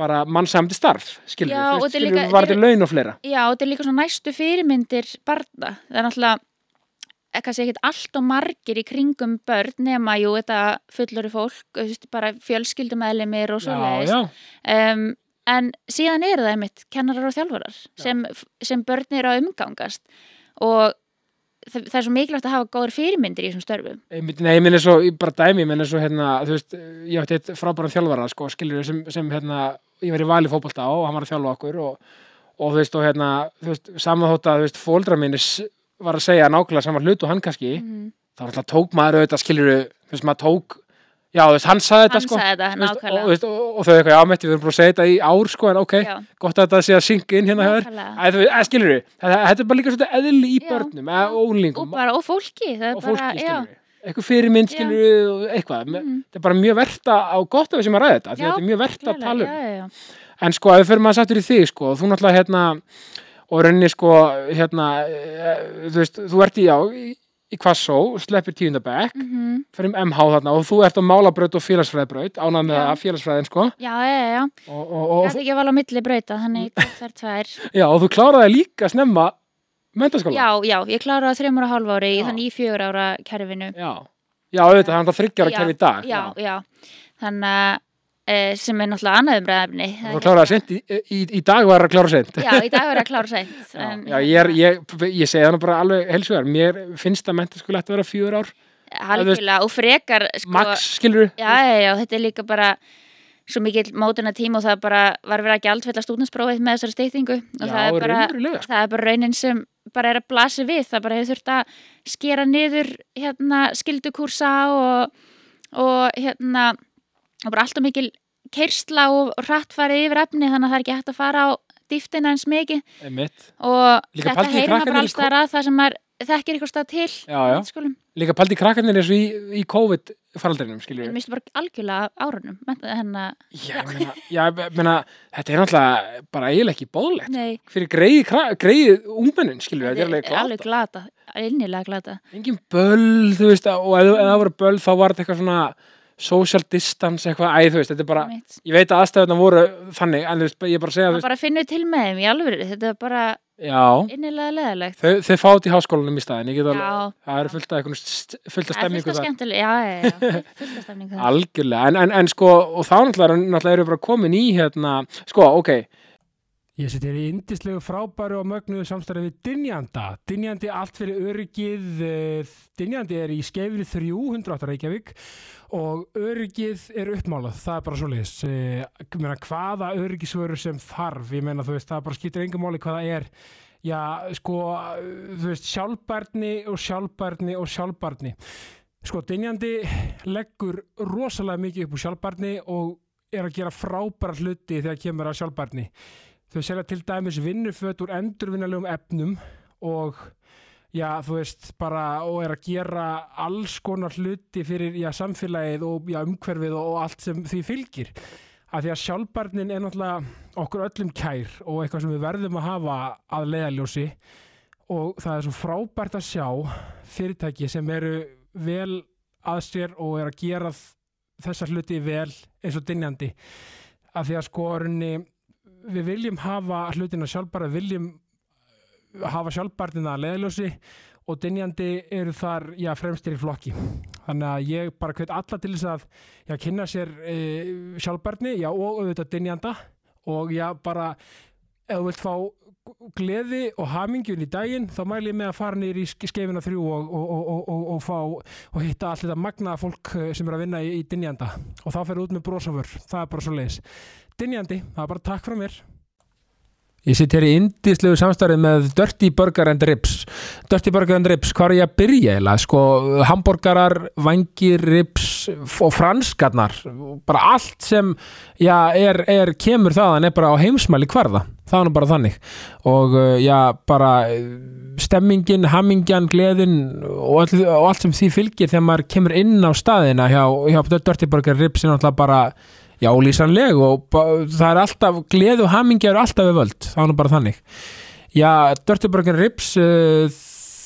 bara mannsamdi starf, skilur Já, þú og veist, þetta er skilur líka- var þetta þetta laun og fleira Já, og þetta er líka svona næstu fyrirmyndir barna. Það er náttúrulega eh, kannski ekkert allt og margir í kringum börn nema, jú, þetta fullori fólk, þú veist, bara fjölskyldumæðlimir og svo leiðist. já, Um, en síðan eru það einmitt kennarar og þjálfarar sem, sem börn eru að umgangast og það, það er svo mikilvægt að hafa góður fyrirmyndir í þessum störfum. Einmitt, nei, ég minni svo, ég bara dæmi, ég minni svo hérna, þú veist, ég átti eitt frábæran þjálfara, sko, skilur sem, sem hérna, ég var í vali fótbolta og hann var að þjálfa okkur og, og þú veist, og hérna, þú veist, samanþótt að, þú veist, fóldra minni var að segja nákvæmlega sama hlut og hann kannski, Mm. þá var alltaf tók maður auðvitað, skilur þú veist, maður tók, já, þú veist, hann saði þetta, Hann sko, sagði þetta þú veist, og, þú nákvæmlega. veist, og, og þau eitthvað, já, metti, við erum búin að segja þetta í ár, sko, en ok, Já. gott að þetta sé að synga inn hérna hjá þér. Nákvæmlega. Æ, þú veist, skilur þetta þetta er bara líka svolítið eðli í Já. börnum, eða Og ólingum, bara, og fólki, það er og bara, fólki, já. skilur eitthvað fyrirmynd, Já. skilur og eitthvað, mm. þetta er bara mjög verta á gott af þessum að ræða þetta, af því Já, þetta er mjög verta að Klálega, tala um, já, já, já. en sko, ef við fyrir maður sattur í þig, sko, þú náttúrulega hérna, og rauninni sko hérna, e, þú veist, þú ert í já, í, í Kvassó, sleppir tíundabæk mm. Mhm. fyrir MH þarna og þú ert á málabraut og félagsfræðbraut, ánað með Já. það félagsfræðin, sko, Já, já, já, já. og, Mm. og, og, Gæti ekki að vala á milli brauta, þannig tvær tvær. já, og þú kláraði líka snemma mentaskóla. Já, já, ég klára á þreymur og hálf ári, Já. þannig í fjögur ára kerfinu. Já, já, auðvitað, það er það þryggjara Já, kerfi í dag. Já, já. Þannig að e, sem er náttúrulega annað umræðafni. Og Þú kláraði sent, í, í, í dag var að klára sent. Já, í dag er að klára seint. Já, en hérna, já ég, er, ég, ég segi það nú bara alveg heilsugar, mér finnst að mentaskóli ætti að vera fjör ár, Algjörlega, og frekar, sko. max skilur Já, já, já, þetta er líka bara svo mikill mótuna tíma og það bara var verið að gjaldfella stúdinsprófið með þessari steytingu og Já, það er bara, raunverulega, sko. það er bara raunin sem bara er að blasi við, það bara hefur þurft að skera niður hérna skildukúrsa og, og hérna og bara alltaf mikil keirsla og hratt farið yfir efni þannig að það er ekki hægt að fara á dýftina eins mikið Einmitt. og Líka þetta pældi í heyrir krakkarnir maður í bara alls skó- staðar að það sem maður þekkir eitthvað stað til Já, já. skulum, líka paldi krakkarnir eins og í, í COVID faraldrinum skilur mér finnst bara algjörlega af árunum hérna, já, ég meina, já, ég meina, þetta er náttúrulega bara eiginlega ekki bóðlegt nei fyrir greiði, kra- greiði ungmennin skilur, þetta er alveg alveg glata glata, innilega glata engin böll, þú veist, og ef ef það voru böll þá var þetta eitthvað svona social distance eitthvað, æ, þú veist, þetta er bara Einmitt. ég veit að aðstæðurna voru þannig en þú veist, ég er bara að segja, þú maður veist, bara finnur til með þeim í alvöru þetta er bara já innilega leðalegt þau, þau fá þetta í háskólanum í staðin, ég get alveg Já. það er fullt af einhvern st- fullt af það er fullt stemningu af það skemmtilega já, já, já, fullt af stemningu þar. algjörlega, en, en, en sko og þá náttúrulega, náttúrulega eru við bara komin í hérna, sko, ok, Ég seti hér í indislegu frábæru og mögnuðu samstarfið við Dynjanda. Dynjandi allt fyrir öryggið, eh, Dynjandi er í skeifri 300 Reykjavík og öryggið er uppmálað, það er bara svo leis. Meina, hvaða öryggisvöru sem þarf, ég meina þú veist, það bara skiptir engum máli hvað það er. Já, sko, þú veist, sjálfbærni og sjálfbærni og sjálfbærni. Sko, Dynjandi leggur rosalega mikið upp úr sjálfbærni og er að gera frábæra hluti þegar kemur að sjálfbærni. Þau selja til dæmis vinnuföt úr endurvinnalegum efnum og já, þú veist, bara og er að gera alls konar hluti fyrir já, samfélagið og já, umhverfið og, og allt sem því fylgir. Af því að sjálfbarnin er náttúrulega okkur öllum kær og eitthvað sem við verðum að hafa að leiðaljósi og það er svo frábært að sjá fyrirtæki sem eru vel að sér og er að gera þessar hluti vel eins og dynjandi. Af því að sko, runni, við viljum hafa hlutina sjálfbæra, við viljum uh, hafa sjálfbærtina að leiðljósi og dynjandi eru þar já, fremstir í flokki. Þannig að ég bara hvet alla til þess að já, kynna sér e, sjálfbærni já, og auðvitað dynjanda og já, bara ef þú vilt fá gleði og hamingjun í daginn þá mæli ég með að fara niður í skeifina þrjú og, og, og, og, og, og fá og hitta allir þetta magnaða fólk eh, sem er að vinna í, í dynjanda og þá ferðu út með brosafur það er bara svo leiðis Dynjandi, það er bara takk frá mér. Ég sitt hér í indislegu samstarfið með Dirty Burger and Ribs. Dirty Burger and Ribs, hvað er ég að byrja eiginlega? Sko, hambúrgarar, vangir, ribs og franskarnar. Bara allt sem já, er, er, kemur þaðan er bara á heimsmæli hverða. Það er nú bara þannig. Og uh, já, bara uh, stemmingin, hamingjan, gleðin og, all, og allt sem því fylgir þegar maður kemur inn á staðina hjá, hjá Dirty Burger Ribs er náttúrulega bara já, lýsanleg og ba- það er alltaf, gleði og hamingja eru alltaf við völd, það er nú bara þannig já, Dirty Burger Ribs uh,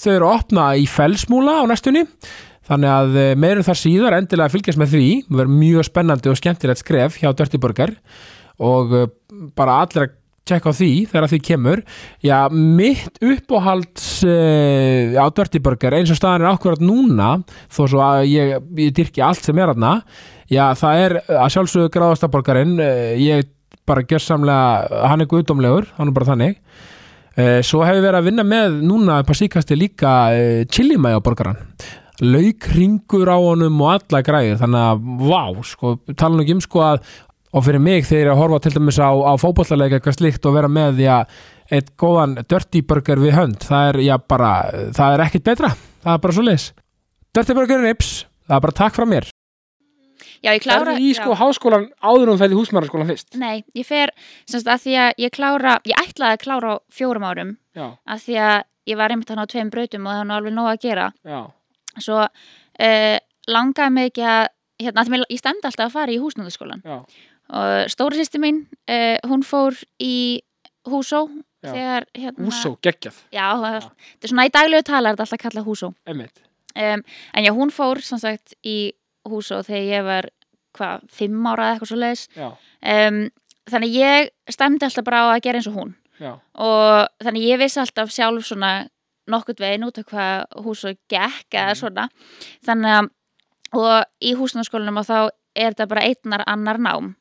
þau eru að opna í felsmúla á næstunni þannig að eh, meira um það síðar endilega að fylgjast með því það verður mjög spennandi og skemmtilegt skref hjá Dirty Burger og eh, bara allir að tjekka á því þegar að því kemur já, mitt uppáhalds uh, á Dirty Burger eins og staðan er akkurat núna þó svo að ég, ég dyrki allt sem er aðna já, það er eh, að sjálfsögðu gráðastaborgarinn uh, ég bara gjörsamlega hann er guðdómlegur, hann er bara þannig uh, svo hef ég verið að vinna með núna upp á síkasti líka uh, chilimæja borgaran laukringur á honum og alla græður þannig að, vá, sko, tala nú ekki um sko að og fyrir mig þegar ég er að horfa til dæmis á, á fótballaleik eitthvað slíkt og vera með því að eitt góðan dirty burger við hönd það er, já, bara, það er ekkit betra það er bara svo leis Dirty Burger Rips, það er bara takk frá mér Já, ég klára Ferðu í sko já. háskólan áður um fæði húsmæðarskólan fyrst? Nei, ég fer semst að því að ég klára ég ætlaði að klára á fjórum árum Já, að því að ég var einmitt hann á tveim brautum og það var nú alveg nóg að gera já. svo uh, langaði mig ekki að hérna, af því mér- ég stemdi alltaf að fara í húsnúðaskólan Já. og stóri sýsti mín, uh, hún fór í húsó Já. þegar hérna, Úsó, geggjað, já, það- þetta er svona í daglegu tala er þetta alltaf kallað húsó emmitt. um, en já, hún fór sem sagt í húsó þegar ég var hvað, fimm ára eða eitthvað svo leis Já, um, þannig ég stemdi alltaf bara á að gera eins og hún já, og þannig ég vissi alltaf sjálf svona nokkurt veginn út af hvað hús og gekk eða Mhm. svona þannig að og í húsnarskólanum og þá er þetta bara einnar annar nám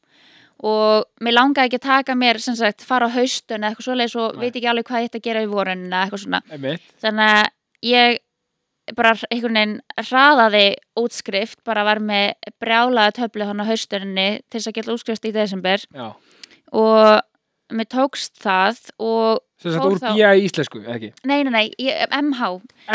og mér langaði ekki að taka mér sem sagt fara á haustun eða eitthvað svoleiðis og Nei. veit ekki alveg hvað ég ætti að gera í vorun eða eitthvað svona emmitt. þannig að ég bara einhvern veginn hraðaði útskrift bara var með brjálaða töflu hann á haustuninni til þess að geta útskrift í desember Já. og mér tókst það og Sem sagt Fór úr þá- BIA í íslensku, eða ekki? Nei, nei, nei, ég, MH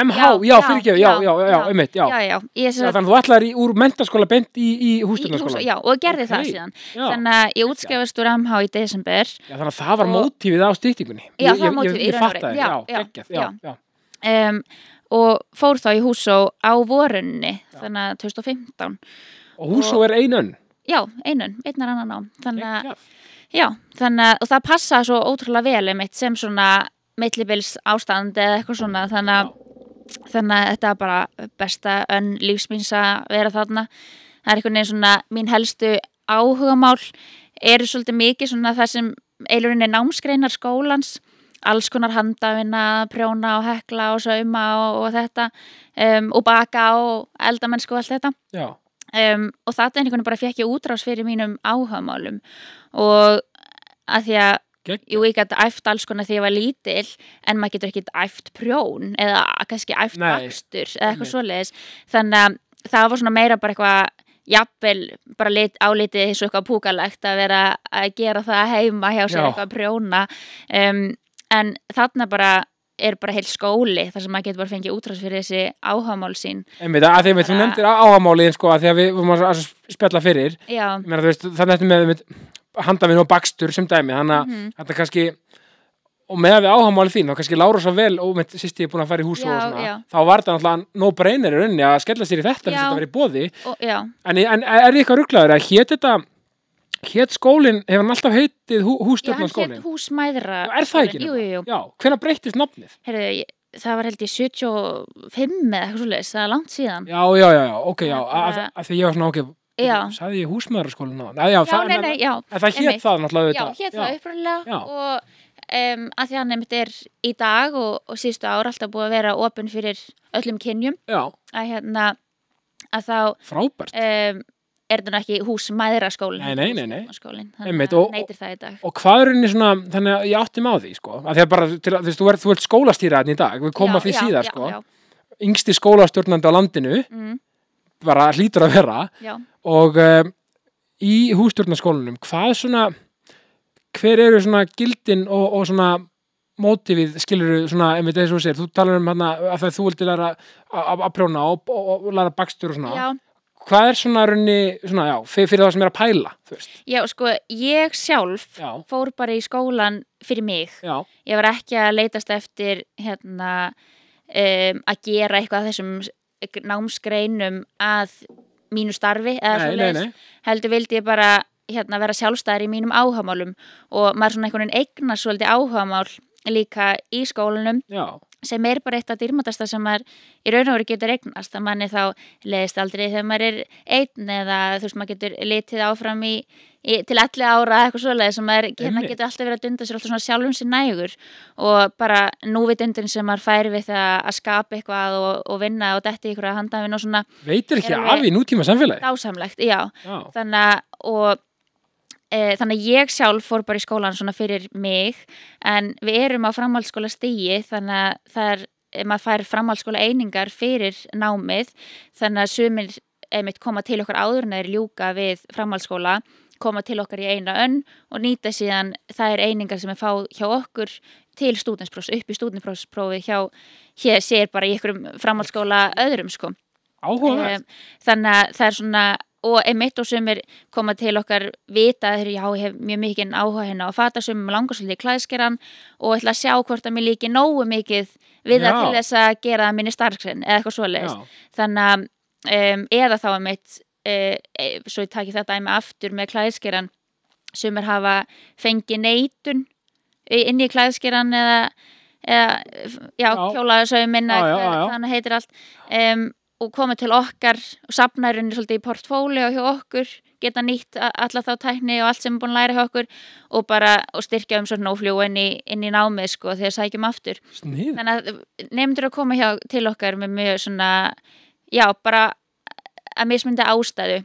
MH, Já, já, já, fyrirgefið, já, já, já, já, já. emmitt, já. Já, já, ég Já, sem Þannig að þú ætlar í, úr mentaskóla bent í, í í hús- hússtjórnarskóla? Já, og gerði Ókei. það síðan Já. Þannig að ég útskrifast úr MH í desember Já, þannig að það var Og- mótífið á stýttingunni. Já, það var mótífið, Ég, í ég, ég raun og veru. fattaði, Já, já, já, geggjað, já, já. já. um, og fór þá í húsó á vorunni þannig að 2015 Og húsó er einun. Já, einun, einnar annan á Þannig að, Geggjað. já, þannig að og það passaði svo ótrúlega vel um eitt sem svona millibils ástand eða eitthvað svona þannig að, þannig að þetta er bara besta önn lífsmýns að vera þarna það er einhvern veginn svona mín helstu áhugamál eru svolítið mikið svona það sem eilurinn er námsgreinar skólans alls konar handafina, prjóna og hekla og sauma og, og þetta um, og baka og eldamennsku og allt þetta Já, um, og þetta einhvern veginn bara fekk ég útrás fyrir mínum áhugamálum og að því að geggjað. Jú, ég gæti æft alls konar þegar ég var lítil en maður getur ekkert æft prjón eða kannski æft Nei, bakstur eða einmitt. eitthvað svoleiðis þannig að það var svona meira bara eitthvað jafnvel bara lit, álitið þessu eitthvað púkalegt að vera að gera það heima hjá sér Já. eitthvað að prjóna um, en þarna bara er bara heil skóli þar sem maður getur bara fengið útrás fyrir þessi áhagamál sín Einmitt, að því að þú Bara- nefndir áhamálið, sko, að því að við vorum að að spjalla fyrir. Já, Ég meina, þú veist, þannig eftir með, með handafinn og bakstur sem dæmi, þannig að Mhm. þetta kannski, og með við áhamálið þín, þá kannski lára svo vel, og með sýsti ég er búin að fara í hús og Já, svona, já. þá var þetta náttúrulega no brainer í rauninni að skella sér í þetta, þess að Já. þetta var í bóði, og, já, en, en er ég eitthvað rugglaður að hét þetta, hét skólinn, hefur hann alltaf heitið hú, já hann hússtjórnarskólinn? hétt húsmæðra Já, Er það ekki? Jú, jú, jú Já, hvenær breyttist nafnið? Heyrðu, ég- það var held ég 75 eða eitthvað svoleiðis, það er langt síðan. Já, já, já, já, ok, já, Það er að, bara- að því ég var svona ok, eh, Já, sagði ég húsmaðurskólinn á, nei, já, já, það, nei, en- nei, já, en það hét einmitt. það náttúrulega já, auðvitað. hér það Já. upprunalega og um, að því hann nefnt er í dag og, og síðustu ár alltaf búið að vera opinn fyrir öllum kynjum Já, að hérna, að þá frábært. um, er þetta nú ekki húsmæðraskólin. Nei, nei, nei, nei. Skólin, Einmitt, þannig og- að neytir það í dag. Og hvað er henni svona, þannig að ég átti með á því, sko, að því að bara, til, að, þú veist, þú ert, þú ert skólastýraðin í dag, við komum Já, að því já, síðar, já, sko, Já, yngsti skólastjórnandi á landinu, mm, bara hlýtur að vera, já. og um, í hússtjórnarskólanum, hvað svona, hver eru svona gildin og, og svona mótífið, skilur svona, einmitt eins og þú segir, þú talar um hana, að það þú vildi læra að- að að prjóna og, og, og læra bakstur og svona, já. hvað er svona raunni, svona, já, fyrir, fyrir það sem er að pæla, þú veist, Já, sko, ég sjálf já, fór bara í skólan fyrir mig. já, ég var ekki að leitast eftir hérna um, að gera eitthvað af þessum námsgreinum að mínu starfi eða nei, nei, svoleiðis. nei, heldur vildi ég bara hérna, vera sjálfstæðar í mínum áhagamálum og maður svona einhvern veginn eignar svolítið áhagamál líka í skólanum já, sem er bara eitt af dýrmætasta sem maður í raun og veru getur eignast að manni þá leðist aldrei þegar maður er einn eða þú veist maður getur litið áfram í, í til allir ára eitthvað svoleiði sem maður hérna Einmitt. getur alltaf verið að dunda sér alltaf svona sjálfum sér nægur og bara núvitundin sem maður fær við það að skapa eitthvað og, og vinna og detti ykkur að handafin og svona veitir ekki Erum af við- í nútíma samfélagi dásamlegt, já já, þannig að og, e, þannig að ég sjálf fór bara í skólan svona fyrir mig en við erum á framhaldsskóla stigi þannig að það er eh, maður fær framhaldsskóla einingar fyrir námið þannig að sumir einmitt koma til okkar áður en þeir ljúka við framhaldsskóla koma til okkar í eina önn og nýta síðan þær einingar sem er fá hjá okkur til stúdinsprófs, upp í stúdinsprófi hjá, hér sér bara í einhverjum framhaldsskóla öðrum sko áhugavert um, þannig að það er svona og einmitt og sumir koma til okkar vita þegar já, ég hef mjög mikið áhuga hérna og fata sumir langar svolítið í klæðskeran og ætla að sjá hvort að mér líki nógu mikið Já. við það til þess að gera það minni starksen eða eitthvað já, svoleiðis þannig að um, eða þá einmitt uh, svo ég taki þetta einmitt aftur með klæðskeran sumir hafa fengið neitun í- inn í klæðskeran eða, eða já, Já. já. kjólaðsaumin Já, já, já, já. þannig heitir allt um, og koma til okkar og safnarinn svolítið í portfólió hjá okkur geta nýtt a- alla þá tækni og allt sem er búin að læra hjá okkur og bara og styrkja um svona ófljú inn í, inn í námið sko þegar sækjum aftur snið þannig að nefndur að koma hjá til okkar með mjög svona já, bara að mismynda ástæðu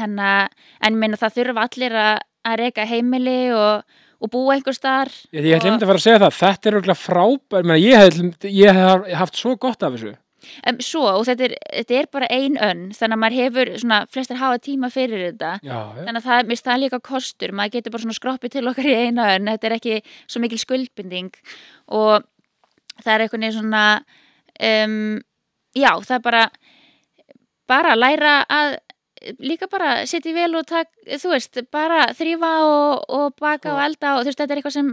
en, en minna það þurfa allir að, að reyka heimili og, og búa einhver staðar ég, ég glemt að fara að segja það, þetta er örgulega frábær ég, meina, ég, hef, ég hef haft svo gott af þessu um, svo og þetta er, þetta er bara ein önn þannig að maður hefur svona flestir hafa tíma fyrir þetta já, já, þannig að það, mér finnst það líka kostur maður getur bara svona skroppið til okkar í eina en þetta er ekki svo mikil skuldbinding og það er einhvern veginn svona um, já, það er bara bara að læra að líka bara setja í vel og tak, þú veist, bara þrýfa og, og Sko. baka og elda og þú veist, þetta er eitthvað sem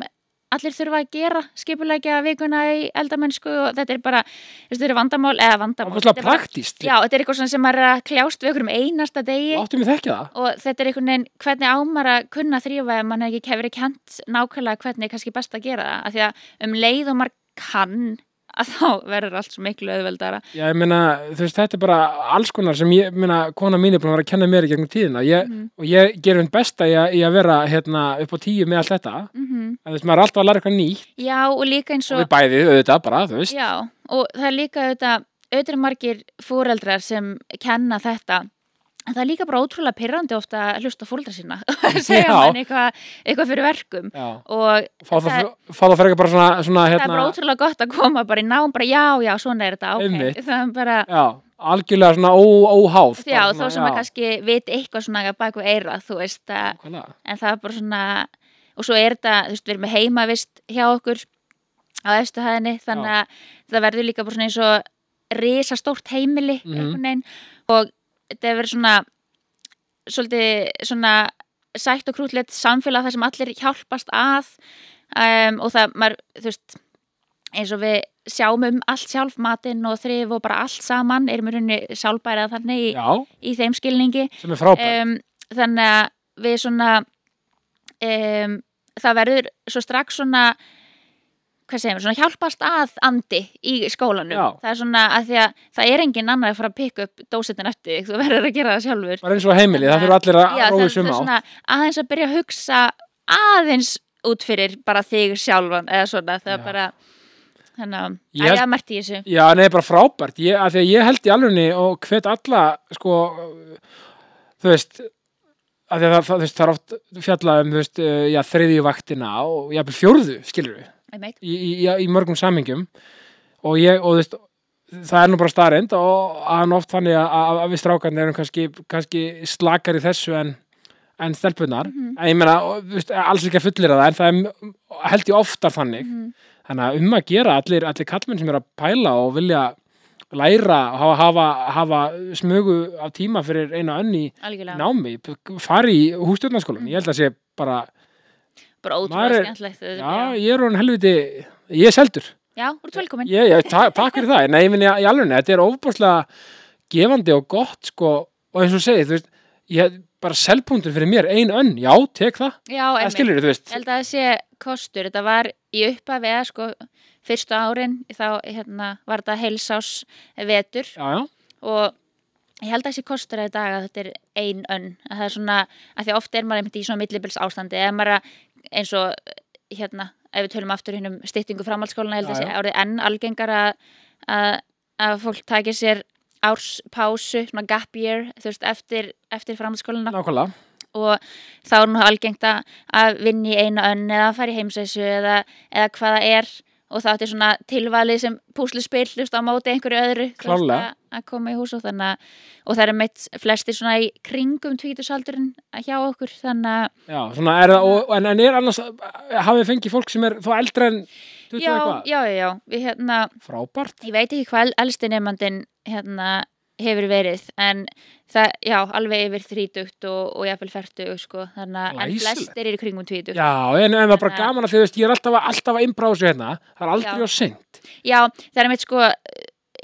allir þurfa að gera skipulegja vikuna í eldamennsku og þetta er bara, þú veist, þetta er vandamál eða vandamál, ofislega er bara- praktíst já, þetta er eitthvað svona sem maður er að kljást við okkur um einasta degi áttum við þekkja það og þetta er einhvern veginn hvernig ámar að kunna þrýfa ef mann hefur ekki verið kent nákvæmlega hvernig er kannski best að gera það af því að um leið og maður kann að þá verður allt svo miklu auðveldara Já, ég meina, þú veist, þetta er bara alls konar sem ég, meina, kona mín er búin að vera að kenna mér í gegnum tíðina ég, Mhm. og ég gerum henn besta í að, í að vera hérna, upp á tíu með allt þetta en mm þú veist, maður er alltaf að læra eitthvað nýtt já og líka eins Svo... og við bæði auðvitað bara, þú veist já, og það er líka auðvitað auðvitað eru margir fóreldrar sem kenna þetta en það er líka bara ótrúlega pyrrandi ofta að hlusta á fóreldra sína segja Já. mann eitthvað, eitthvað fyrir verkum Já, og fá það, Það- fá það fyrir bara svona, svona það er hérna, bara ótrúlega gott að koma bara í nám bara já, já, svona er þetta Einmitt. ok, það er bara já, algjörlega svona ó, óháð Já, bara þó svona, sem að kannski vit eitthvað svona bak við eira, þú veist, að, Nákvæmlega. en það er bara svona, og svo er þetta, þú veist, við erum með heimavist hjá okkur á efstu hæðinni, þannig að það verður líka bara svona eins og risastórt heimili, Mhm. einhvern veginn, og þetta verður svona, svolítið svona sætt og krútlegt samfélag þar sem allir hjálpast að um, og það, maður, þú veist, eins og við sjáum um allt sjálf, matinn og þrif og bara allt saman, erum við rauninni sjálfbærað þannig í, Já, í þeim skilningi sem er frábæð um, þannig að við svona um, það verður svo strax svona hvað segjum, við, svona hjálpast að andi í skólanum, Já. það er svona að því að það er engin annar að fara að pikka upp dósetin eftir þig, þú verður að gera það sjálfur Bara eins og heimili, það þurfa allir að Já, rói það sum er á svona aðeins að byrja að hugsa aðeins út fyrir bara þig sjálfan eða svona, það Já. er bara þannig að, Ég að held- ég merti í þessu Já, nei, bara frábært ég, af því að ég held í alvegni og hvet alla sko, þú veist af því að það, það, þú veist, það er oft fjallað um, þú veist, eh, já, þriðju vaktina og jafnvel fjórðu, skilur við Einmitt. í, í, í, í mörgum samhengjum og ég, og þú veist það er nú bara staðreind og hann oft þannig að, að, að við strákarnir erum kannski, kannski slakar í þessu en, en stelpunar, en ég meina og, þú veist, alls ekki að fullera það, en það er m- held ég oftar þannig, þannig að um að gera allir, allir kallmenn sem eru að pæla og vilja læra og hafa, hafa, hafa smugu af tíma fyrir eina önni algjörlega, námi, p- fari í hústjórnarskólan ég held að sé bara, bara Maður ótrúlega er- skemmtilegt þetta er já, bara- ég er hún helviti ég er seldur já, þú ert velkomin Já, já, ta takk fyrir það. Nei, ég minni í alveg, þetta er ofbúrslega gefandi og gott, sko, og eins og þú segir, þú veist, ég, bara selpuntur fyrir mér, ein önn, já, tek það já, það einmitt. skilur þú veist Ég held að það sé kostur, þetta var í upphafi eða sko fyrstu árin þá hérna, var þetta heilsás vetur já, já, og ég held að það sé kostur að í dag að þetta er ein önn að það er svona, að því ofta er maður einmitt í svona millibils ástandi eða maður að, eins og hérna, ef við tölum aftur hinnum styttingu framhaldsskólana, ég held að Já, það sé árið enn algengar að, að, að fólk takir sér árspásu, svona gap year, þú veist, eftir, eftir framhaldsskólana nákvæmlega og þá er nú algengt að- að vinna í eina önn eða að fara í heimsessu eða, eða hvað það er og þá átti svona tilvalið sem púsluspill þú veist, á móti einhverju öðru þú veist, Klárlega. að- að koma í hús og þannig að og það er meitt flestir svona í kringum tvítusaldurinn hjá okkur þannig að já, svona er það, og, en, en er annars hafið fengið fólk sem er þó eldra en 20 já, eitthvað, já, já, já, við hérna frábært ég veit ekki hvað elsti nefnandin hérna hefur verið en það, já, alveg yfir þrítugt og, og jafnvel fertugt sko, þannig að en Glæsilegt. flestir eru í kringum tvítugt Já, en, en það er bara Þannig að- gaman að því, þú veist, ég er alltaf, að- alltaf að innbrásu hérna, það er aldrei Já. á seint. Já, það er meitt sko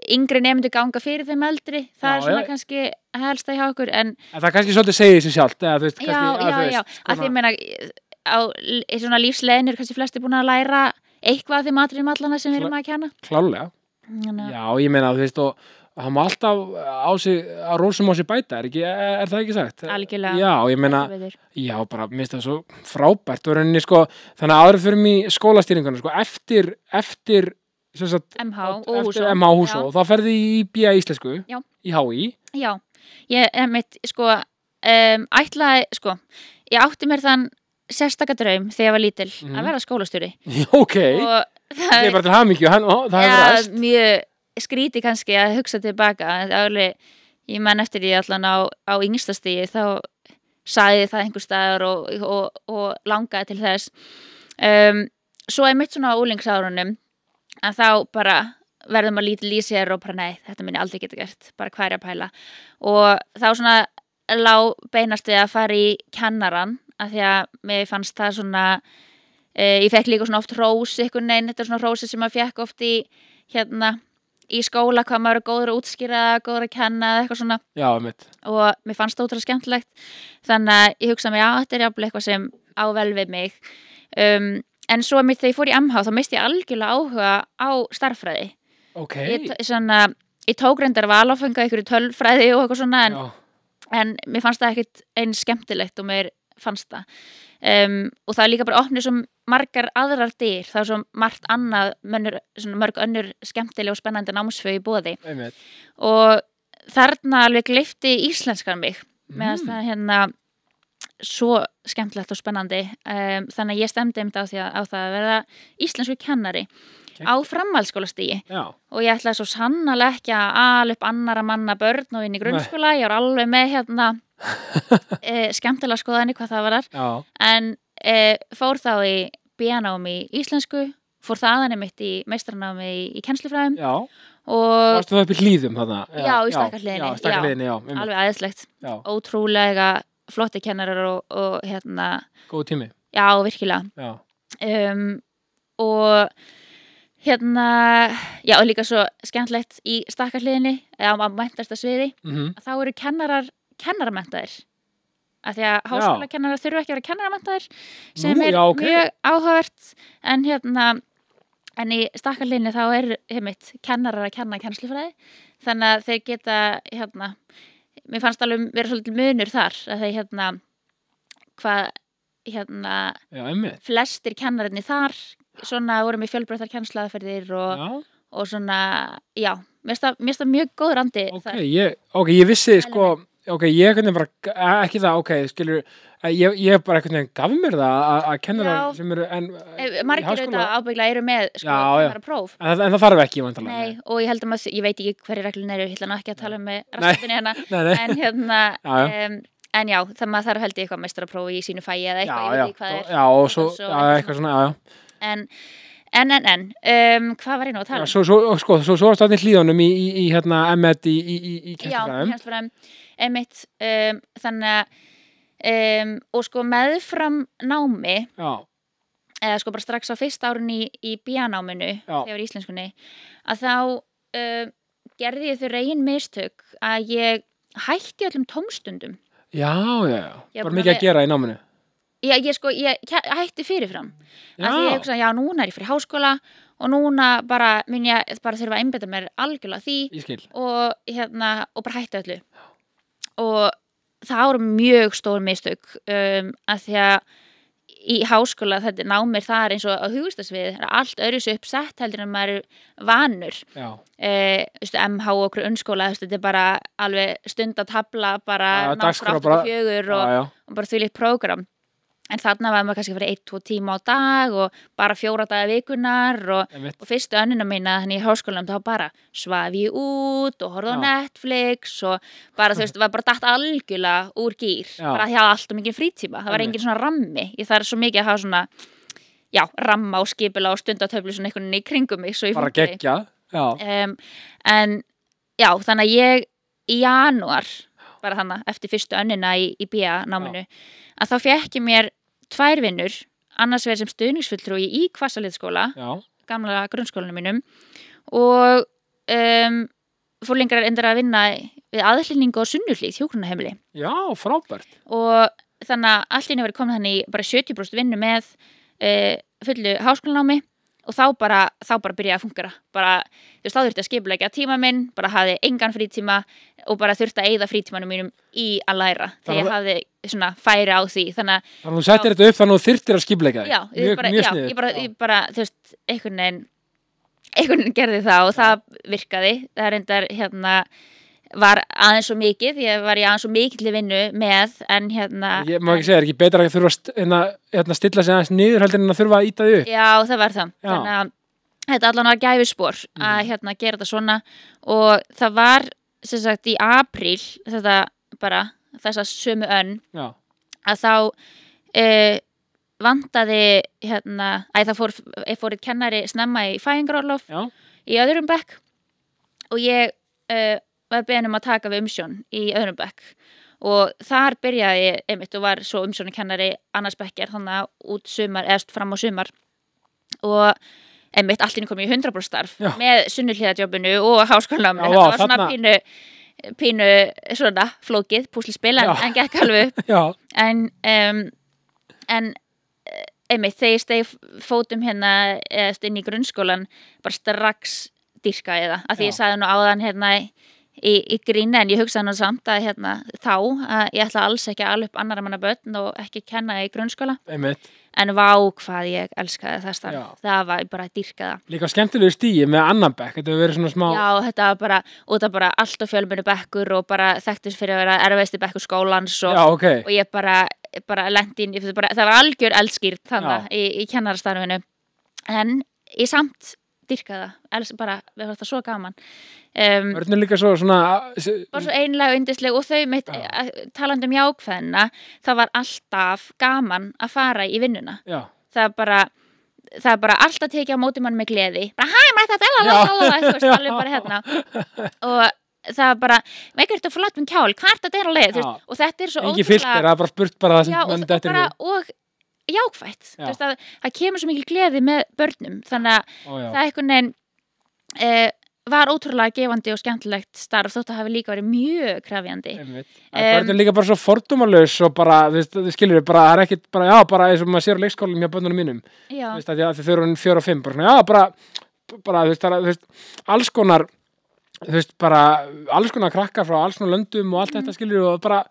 yngri nefndu ganga fyrir þeim eldri það Já, er svona já. kannski helsta hjá okkur en En það er kannski svolítið segið sér sjálft, eða þú veist, já, kannski, sko, já, að, já, að því meina á l- í svona lífslegin er kannski flesti búin að læra eitthvað af þeim atriðum allana sem við erum að kenna Klálega. Þannig að- Já, ég meina, þú veist, og og það má alltaf á sig, að rósum á sig bæta, er, ekki, er það ekki sagt? Algjörlega. Já, ég meina, heldur betur. já, bara, mér finnst það svo frábært, og rauninni, sko, þannig að aðra fyrir mig skólastýringuna, sko, eftir, eftir, sem sagt, MH og eftir Húsó MH Húsó, þá ferði í BIA Íslensku, Já. í HÍ, Já, ég er mitt sko um, ætlaði, sko ég átti mér þann sérstaka draum þegar ég var lítil Mhm. að verða skólastjóri ok, og það er bara til hamingju, hann, ó, það hefur ræst. Já, mjög skríti kannski að hugsa tilbaka en alveg, ég menn eftir því allan á, á yngstastíi þá sagði það einhver staðar og, og, og langaði til þess um, svo er mitt svona á úlingsárunum en þá bara verður maður lítið í sér og bara nei, þetta minn ég aldrei geta gert bara hvað er ég að pæla og þá svona lá beinast við að fara í kennaran af því að mér fannst það svona Uh, ég fekk líka svona oft rós einhvern veginn, þetta er svona rósi sem maður fekk oft í hérna, í skóla hvað maður er góður að útskýra, góður að kenna eða eitthvað svona Já, mitt. og mér fannst það útrúlega skemmtilegt þannig að ég hugsa mig, já, þetta er jafnvel eitthvað sem á vel við mig um, en svo mitt þegar ég fór í MH þá misti ég algjörlega áhuga á starffræði Ok. ég, t- svona, ég tók reyndar valafengu einhverju tölfræði og eitthvað svona en Já. en mér fannst það ekkit eins skemmtilegt og mér fannst það um, og það er líka bara opnið svo margar aðrar dyr, það er svo margt annað mönnur, svona mörg önnur skemmtileg og spennandi námsfög í bóði Einmitt. og þarna alveg glifti íslenskan mig meðan Mm. það hérna svo skemmtilegt og spennandi um, þannig að ég stemdi um þetta á, því að- á það að verða íslensku kennari Gegn. á framhaldsskólastíi Já, og ég ætlaði svo sannarlega ekki að ala upp annara manna börn og inn í grunnskóla ég var alveg með hérna e, skemmtilega skoðanir hvað það var þar já, en e, fór þá í bíanámi í íslensku fór þaðan mitt í meistranámi í, í kennslufræðum já. og Varstu það upp í hlýðum þarna? Já, í stakkarhliðinni, Já, stakkarhliðinni, já, einmitt, alveg aðeinslegt já, ótrúlega flotti kennarar og, og hérna, góð tími, já virkilega já. um, og hérna já og líka svo skemmtilegt í stakkarhliðinni eða á mæntasta sviði Mm -hmm. að þá eru kennarar kennaramentaðir af því að háskólakennarar þurfa ekki að vera kennaramentaðir sem Nú, er já, ok. mjög áhugavert en hérna en í stakkarlinni þá er heimitt kennarar að kenna kennslufræði þannig að þeir geta hérna mér fannst alveg vera svolítið munur þar að þeir hérna hvað hérna Já, einmitt, flestir kennararnir þar svona voru með fjölbreyttar kennslaðferðir og, já, og svona já, mér finnst það- mér finnst það mjög góður andi ok, þar. ég, ok, ég vissi, sko, ok, ég einhvern veginn bara, eh, ekki það, ok, skilur, eh, ég, ég bara einhvern veginn gaf mér það að- að Já. kennarar sem eru, en, Eh, í margir háskóla- auðvitað ábyggla eru með sko, Já, já. kennara próf En, það- en það þarf ekki, vantalega. Nei, og ég held að maður, ég veit ekki hverju reglun eru, ég ætla nú ekki að tala um með rastinni hérna, nei, nei. en hérna, Já, Um, en já, það maður þarf held ég eitthvað meistaraprófi í sínu fæi eða eitthvað, ég já, veit ekki hvað já, það já, og svo, Svo- já, eitthvað svona, já, já. er, en, en, en, en, um, hvað var ég nú að Já, tala um? Svo, svo, sko, svo, svo varstu þannig hlýðunum í, í, í, hérna, emmet í, í, í, í Já, kennslufræðum. hennst fram, emitt, um, þannig að, um, og sko meðfram námi, Já, eða sko bara strax á fyrst árun í, í bíanáminu Já. þegar í íslenskunni að þá eh, uh, gerði ég þau reyn mistök að ég hætti öllum tómstundum já, já, já, Ég er bara búin mikið að að gera í náminu ég, ég sko, ég kæ- hætti fyrirfram Já. af því ég hugsa, já, núna er ég fyrir háskóla og núna bara, mun ég bara þurfa að einbeta mér algjörlega að því ég skil, og hérna, og bara hætta öllu og það voru mjög stór mistök um, að því að í háskóla þetta námir það er eins og á hugastasvið, það er allt öðru svo uppsett heldur en maður er vanur já eh, þú veist, MH og grunnskóla þú veist, þetta er bara alveg stundatabla bara Já, dagskrá námskrá bara- 84 og, já, já, og bara þvílíkt prógram en þarna var maður kannski fyrir 1-2 tíma á dag og bara fjóra daga vikunar og, einmitt og fyrstu önnina mína þannig í háskólanum þá bara svaf ég út og horfði á Já. Netflix og bara þú veist, var bara datt algjörlega úr gýr, Já. bara því að allt og mikið frítíma það var Einmitt. engin svona rammi, ég þarf svo mikið að hafa svona já, ramma og skipula og stundatöflu svona einhvern veginn í kringum mig svo ég bara fúnkeri. geggjað, já, um, en já, þannig að ég í januar, bara þannig eftir fyrstu önnina í, í BIA náminu að þá fekk ég mér tvær vinnur annars verið sem stuðningsfulltrú í kvassaliðskóla, já gamla grunnskólanum mínum og um, fór lengra endur að vinna við aðhlýningu og sunnuhlýð hjúkrunaheimili já, frábært, og þannig að allt í einu verið komin þannig í bara 70% vinnu með uh, fullu háskólanámi og þá bara, þá bara byrjaði að fungera bara, þú veist, þá þurfti að skipulegja tíma minn bara hafði engan frítíma og bara þurfti að eyða frítímanum mínum í að læra þegar ég hafði svona færi á því þannig að, þannig að þú settir þetta upp þannig að þú þyrtir að skipleika þig já, ég bara, já, ég bara, ég bara þú veist, einhvern veginn einhvern veginn gerði það og það virkaði það er endar, hérna var aðeins svo mikið, ég var í aðeins svo mikill vinnu með, en hérna Ég má ekki segja, er ekki betra að þurfa að st- hérna, hérna, stilla sig aðeins niður heldur en að þurfa að íta þau upp? Já, það var það. Já. Mm. Þannig að þetta allan var gæfispor að hérna gera þetta svona og það var sem sagt í apríl þetta bara þessa sömu önn Já, að þá uh, vantaði hérna að það fór, fór eitt kennari snemma í fæðingarorlof já, í öðrum bekk og ég uh, var beðin um að taka við umsjón í öðrum bekk og þar byrjaði ég einmitt og var svo umsjónukennari annars bekkjar þannig að út sumar eðst fram á sumar og einmitt allt inn kom ég í 100% starf Já. með sunnulíðadjófinu og háskólanámi Já, þetta vá, var svona þarna- pínu pínu svona flókið púslispil en, Já. en gekk alveg upp já, en um, en eh, einmitt þegar ég stegi fótum hérna eðast inn í grunnskólan bara strax dýrka ég það af Já. því ég sagði nú áðan hérna í, í grína en ég hugsaði nú samt að hérna þá að ég ætla alls ekki að ala upp annar manna börn og ekki kenna í grunnskóla einmitt. en vá hvað ég elskaði það starf Já. það var ég bara að dýrka það Líka skemmtilegu stíi með annan bekk, þetta hefur verið svona smá... Já, þetta var bara, út af bara allt og fjölmennu bekkur og bara þekktist fyrir að vera erfiðasti bekkur skólans og, Já, ok. og ég bara, bara lendi inn, í- bara, það var algjör eldskýrt þannig í, í kennarastarfinu en ég samt dyrka það, els, bara, við varum það svo gaman um, Örn er líka svo svona... bara svo einlega og yndisleg og þau mitt Já. eh, talandi um jákvæðina það var alltaf gaman að fara í vinnuna Já, það er bara það er bara alltaf tekið á móti mann með gleði bara hæ, maður þetta, la, la, la, la, la, þú veist, Já. alveg bara hérna og það er bara, með eitthvað flott með kjál hvað er þetta er að leiða, þú Já. veist, og þetta er svo engi filter, það er bara spurt bara það sem já, og, mann og dettur í bara, hug. og jákvætt Já. þú veist, að, það kemur svo mikil gleði með börnum þannig að Ó, já. það er einhvern veginn e, var ótrúlega gefandi og skemmtilegt starf þótt að hafi líka verið mjög krafjandi Einmitt. Em, Það er líka bara svo fordómalös og bara, þú veist, þú skilur bara, það er ekkit bara, já, bara eins og maður sér á leikskólinum hjá bönnunum mínum, já, þú veist, af því að þau eru hann fjör og fimm, bara svona, já, bara, bara, þú veist, það er, þú veist, alls konar, þú veist, bara, alls konar krakka frá alls konar löndum og allt Mm. þetta skilur og bara,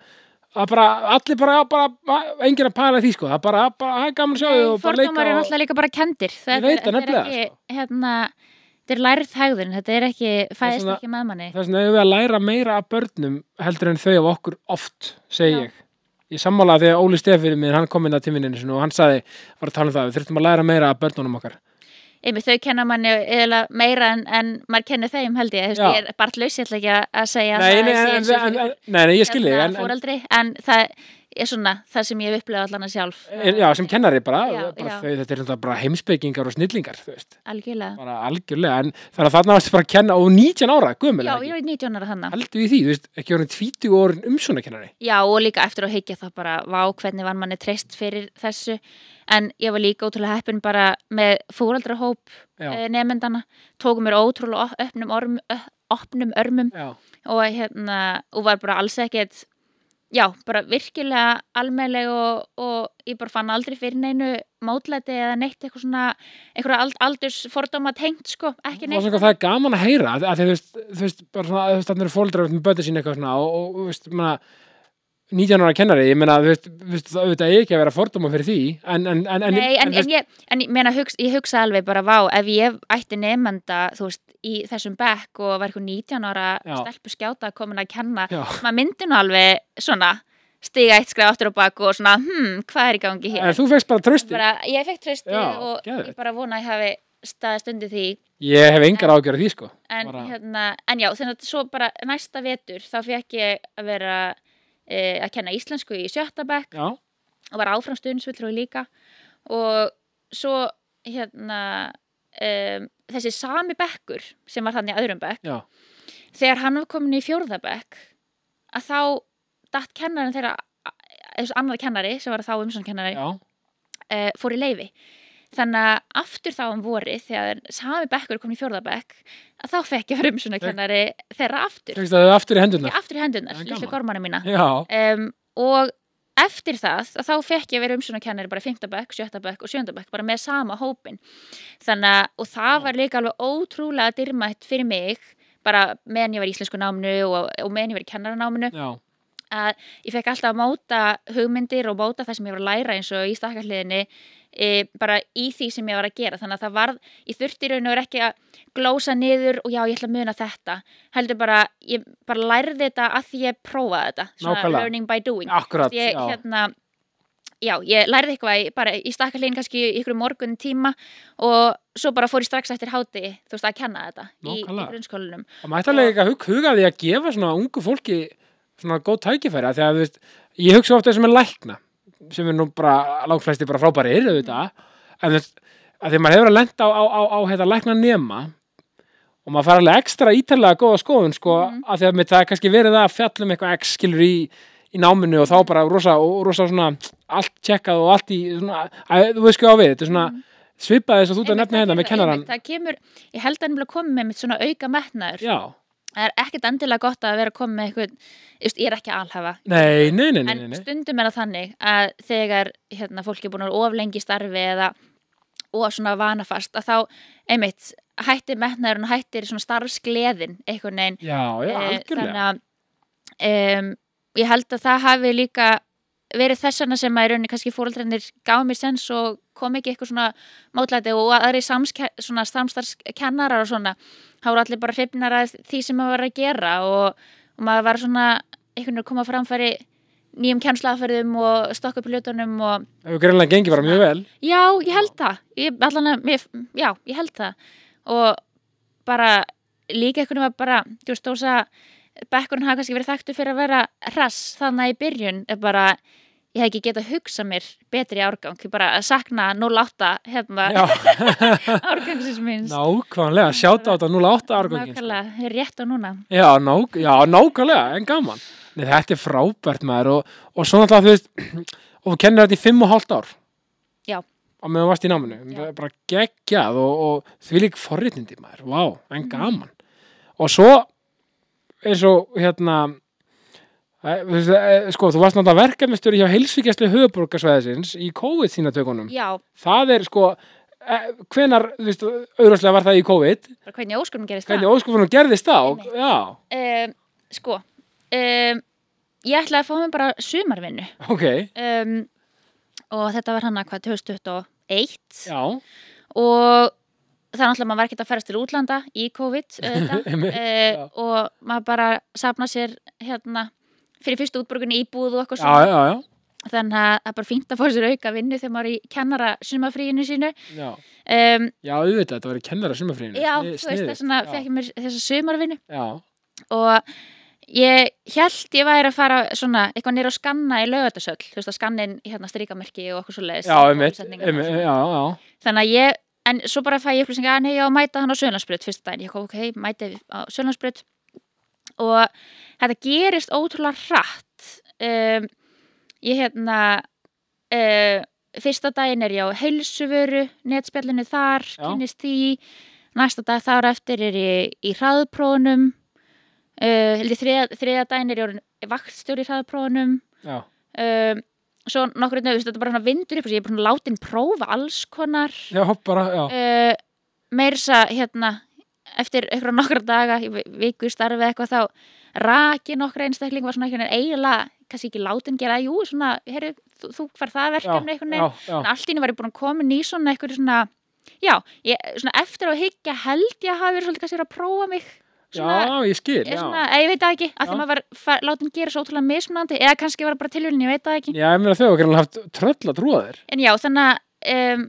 að bara, allir bara, bara, enginn að pæla í því, sko, það er bara, bara, það er gaman að sjá þau og bara leika fordómar er og, náttúrulega líka bara kendir Ég veit það þetta er nefnilega, ekki, sko. hérna þetta er lærið hægðun, þetta er ekki fæðist svona- ekki með manni það er svona, ef við að læra meira af börnum heldur en þau af okkur oft, segi Já. ég. Ég sammála þegar Óli Stefir minn, hann kom inn að tímininu sinu og hann saði, var að tala um það, við þurftum að læra meira af börnunum okkar. einmitt þau kenna manni eða meira en, en maður kennir þeim held ég, þú veist, Já. ég er bara laus ég ætla ekki að- að segja Nei, að nei, það sé en- eins og en- fyrir, en- nei, nei, ég skilji, hérna, en, en, foreldri, en það er svona það sem ég hef upplegað allan að sjálf En- Eh, Já, sem kennari bara, Já, bara já. Þau, þetta er náttúrulega bara heimspekingar og snillingar, þú veist, algjörlega, bara algjörlega, en þannig að þarna varstu bara að kenna og 19 ára, já, guðmjöla, ég ekki, er 19 ára þannig heldur við því, þú veist, ekki orðin 20 orðin umsjóna kennari. Já, og líka eftir að higgja það bara, vá, hvernig var manni treyst fyrir þessu, en ég var líka ótrúlega heppin bara með fóreldrahóp Já. eh, nemyndana, tóku mér ótrúlega op- opnum, orm, ö- opnum örmum Já, og, hérna, og var bara alls ekkert já, bara virkilega almennleg og, og ég bara fann aldrei fyrir neinu mótlæti eða neitt eitthvað svona, einhverja ald, aldurs fordóma tengt, sko, ekki Og neitt svona, það er gaman að heyra að, að þið, þú veist, þú veist, bara svona, þú veist, þannig eru fóldrar með bötið sín eitthvað svona og, og þú veist, ég meina, 19 ára kennari, ég meina, þú veist, þú veist, það auðvitað eigi ekki að vera fordóma fyrir því, en, en, en, Nei, en, þú en, veist, ég, en ég, meina, hugsa, ég hugsa alveg bara vá, ef ég ætti nefnda, þú veist, í þessum bekk og var eitthvað 19 ára Já. stelpu skjáta komin að kenna, Já. maður myndi nú alveg svona stiga eitt skref áttur á bak og svona, hm, hvað er í gangi hér? en þú fegst bara trösti. bara, ég fekk tröstið Já, og geðveikt. ég bara vona að ég hafi staðist undir því Ég hef engar ágjörð því, sko. en, Bara- hérna, en já, þannig að svo bara næsta vetur þá fekk ég að vera e, að kenna íslensku í sjötta bekk Já, og var áfram stundisvillur líka og svo hérna um, þessi sami bekkur sem var þannig öðrum bekk já, þegar hann var komin í fjórða bekk að þá datt kennarinn þeirra þessu annar kennari sem var þá umsóknarkennari já, uh, fór í leifi þannig að aftur þá um vorið þegar sami bekkur kom í fjórðabekk að þá fekk ég frumsunarkennari þeirra aftur, fegst það aftur í hendurna. ekki aftur í hendunar, Hérna. Það er lítið gaman. gormana mína Já, um, og eftir það að þá fekk ég að vera umsunarkennari bara 5. bekk, 7. bekk og 7. bekk bara með sama hópin þannig að, og það Vá. var líka alveg ótrúlega dyrmætt fyrir mig bara meðan ég var í íslensku náminu og, og meðan ég var í kennaranáminu já, að ég fekk alltaf að móta hugmyndir og móta það sem ég var að læra eins og í stakkarliðinni e, bara í því sem ég var að gera þannig að það varð, ég þurfti í raun og veru ekki að glósa niður og já, ég ætla að muna þetta heldur bara, ég bara lærði þetta að því ég prófaði þetta Nákvæmlega. learning by doing akkurat, ég, já. hérna, já, ég lærði eitthvað í, bara í stakkarlegin kannski í ykkur morgun tíma og svo bara fór ég strax eftir háti þú veist að kenna þetta í, í Nákvæmlega. grunnskólanum Það mætti alveg ekki að hug, huga því að gefa svona ungu fólki svona góð tækifæri af því að þú veist, ég hugsa ofta þessum er lækna sem er nú bara langflesti bara frábærir Mm. auðvitað en þú veist, að því að maður hefur að lenda á, á, á, á heita lækna nema og maður fara alveg ekstra ítalega góða skoðun sko mm. Mhm. að því að mitt það er kannski verið að fjallum eitthvað x skilur í, í náminu og þá bara rosa, og rosa svona allt tjekkað og allt í svona, að, þú veist sko á við, þetta er svona Mhm. svipað þess að þú ert að Mm. Einmitt, nefna hérna það með kemur- kennaran einmitt, það kemur, ég held að hann vilja koma með mitt svona auka metnaður Já, það er ekkert endilega gott að vera að koma með eitthvað ég er ekki að alhafa nei, nei, nei, nei, nei, en nei. stundum er það þannig að þegar hérna, fólk er búin að vera of lengi í starfi eða og svona vanafast að þá einmitt hættir metnaðurinn og hættir svona starfsgleðin einhvern veginn Já, já, Eh, algjörlega þannig að um, ég held að það hafi líka verið þessana sem að í rauninni kannski fóröldrennir gáði mér sens og kom ekki eitthvað svona mótlæti og aðri samske- svona samstarfskennarar og svona þá voru allir bara hrifnar að því sem maður var að gera og, og maður var svona einhvern veginn að koma á framfæri nýjum kennslaðferðum og stokka upp hlutunum og Það hefur greinlega gengið bara mjög vel. já, ég held það ég, allan að, mér, já, ég held það og bara líka einhvern veginn var bara, þú veist, þó að bekkurinn hafa kannski verið þekktu fyrir að vera rass þannig að í byrjun er bara ég hef ekki getað hugsað mér betri árgang ég bara sakna 08 hérna Já, árgangsins minns nákvæmlega, sjáta á þetta 08 árgangin. Nákvæmlega, rétt á núna Já, nák já, nákvæmlega, en gaman. Nei, þetta er frábært maður og, og svona alltaf, þú veist, og þú kennir þetta í 5 og hálft ár. Já. Og meðan þú varst í náminu, Já. bara geggjað og, og því lík forritindi maður, vá, Mhm. en gaman. Og svo, eins og, hérna, eh, þú veist, eh, sko, þú varst náttúrulega verkefnistur hjá heilsvíkjastli höfuborgarsvæðisins í COVID sína tökunum. Já, það er sko eh, hvenar, þú veist, auðvitað var það í COVID bara hvernig í óskunum gerist það hvernig óskupunum gerðist þá Einmitt. já, um, Sko um, Ég ætlaði að fá mér bara sumarvinnu ok, um, og þetta var hann að hvað 2021 já og það er náttúrulega maður var ekki að ferast til útlanda í COVID auðvitað, einmitt, uh, já. og maður bara sapna sér hérna fyrir fyrstu útborgunni íbúð og já, eitthvað svona já, já, þannig að það er bara fínt að fá sér auka vinnu þegar maður er í kennara sumafríinu sínu já um, já, auðvitað, þetta var í kennara sumafrínu já, þú veist þess að fekk ég mér þessa sumarvinnu já, og ég held ég væri að fara svona eitthvað nýra að skanna í lögatarsöll þú veist að skannin hérna strikamerki og okkur svo leiðis já, einmitt, einmitt já, já, þannig að ég, en svo bara fæ ég upplýsingar að nei, ég á að mæta hann á Sjölandsbrut fyrsta daginn, ég kom ok, mæti á Sjölandsbrut og þetta gerist ótrúlega hratt um, ég hérna uh, fyrsta daginn er ég á heilsuvöru netspjallinu þar, Já. kynist því næsta dag þar eftir er ég í hraðprónum uh, held ég þriða, þriða dæn er ég orðin vaktstjóri í hraðaprófunum já, um, svo nokkur nöfn, þetta er bara svona vindur upp og ég er bara svona látin prófa alls konar já, bara, já, uh, meirsa hérna eftir einhverja nokkra daga í vi- viku í starfi eða eitthvað þá raki nokkra einstakling var svona einhvern veginn eiginlega kannski ekki látin gera, jú, svona heru, þú, þú fær það verkefni einhvern veginn já, já, en allt í henni var ég búin að koma ný svona einhverju svona, já, ég, svona eftir á að higgja held ég að hafa verið svolítið kannski verið að prófa mig svona, já, ég skil, ég, já. svona, ég, ég veit það ekki, af Já. því maður var fa- látin gera svo ótrúlega mismunandi, eða kannski var það bara tilvílin, ég veit það ekki, Já, ég meina þau hafa greinlega haft tröll að trúa þér. en já, þannig að um,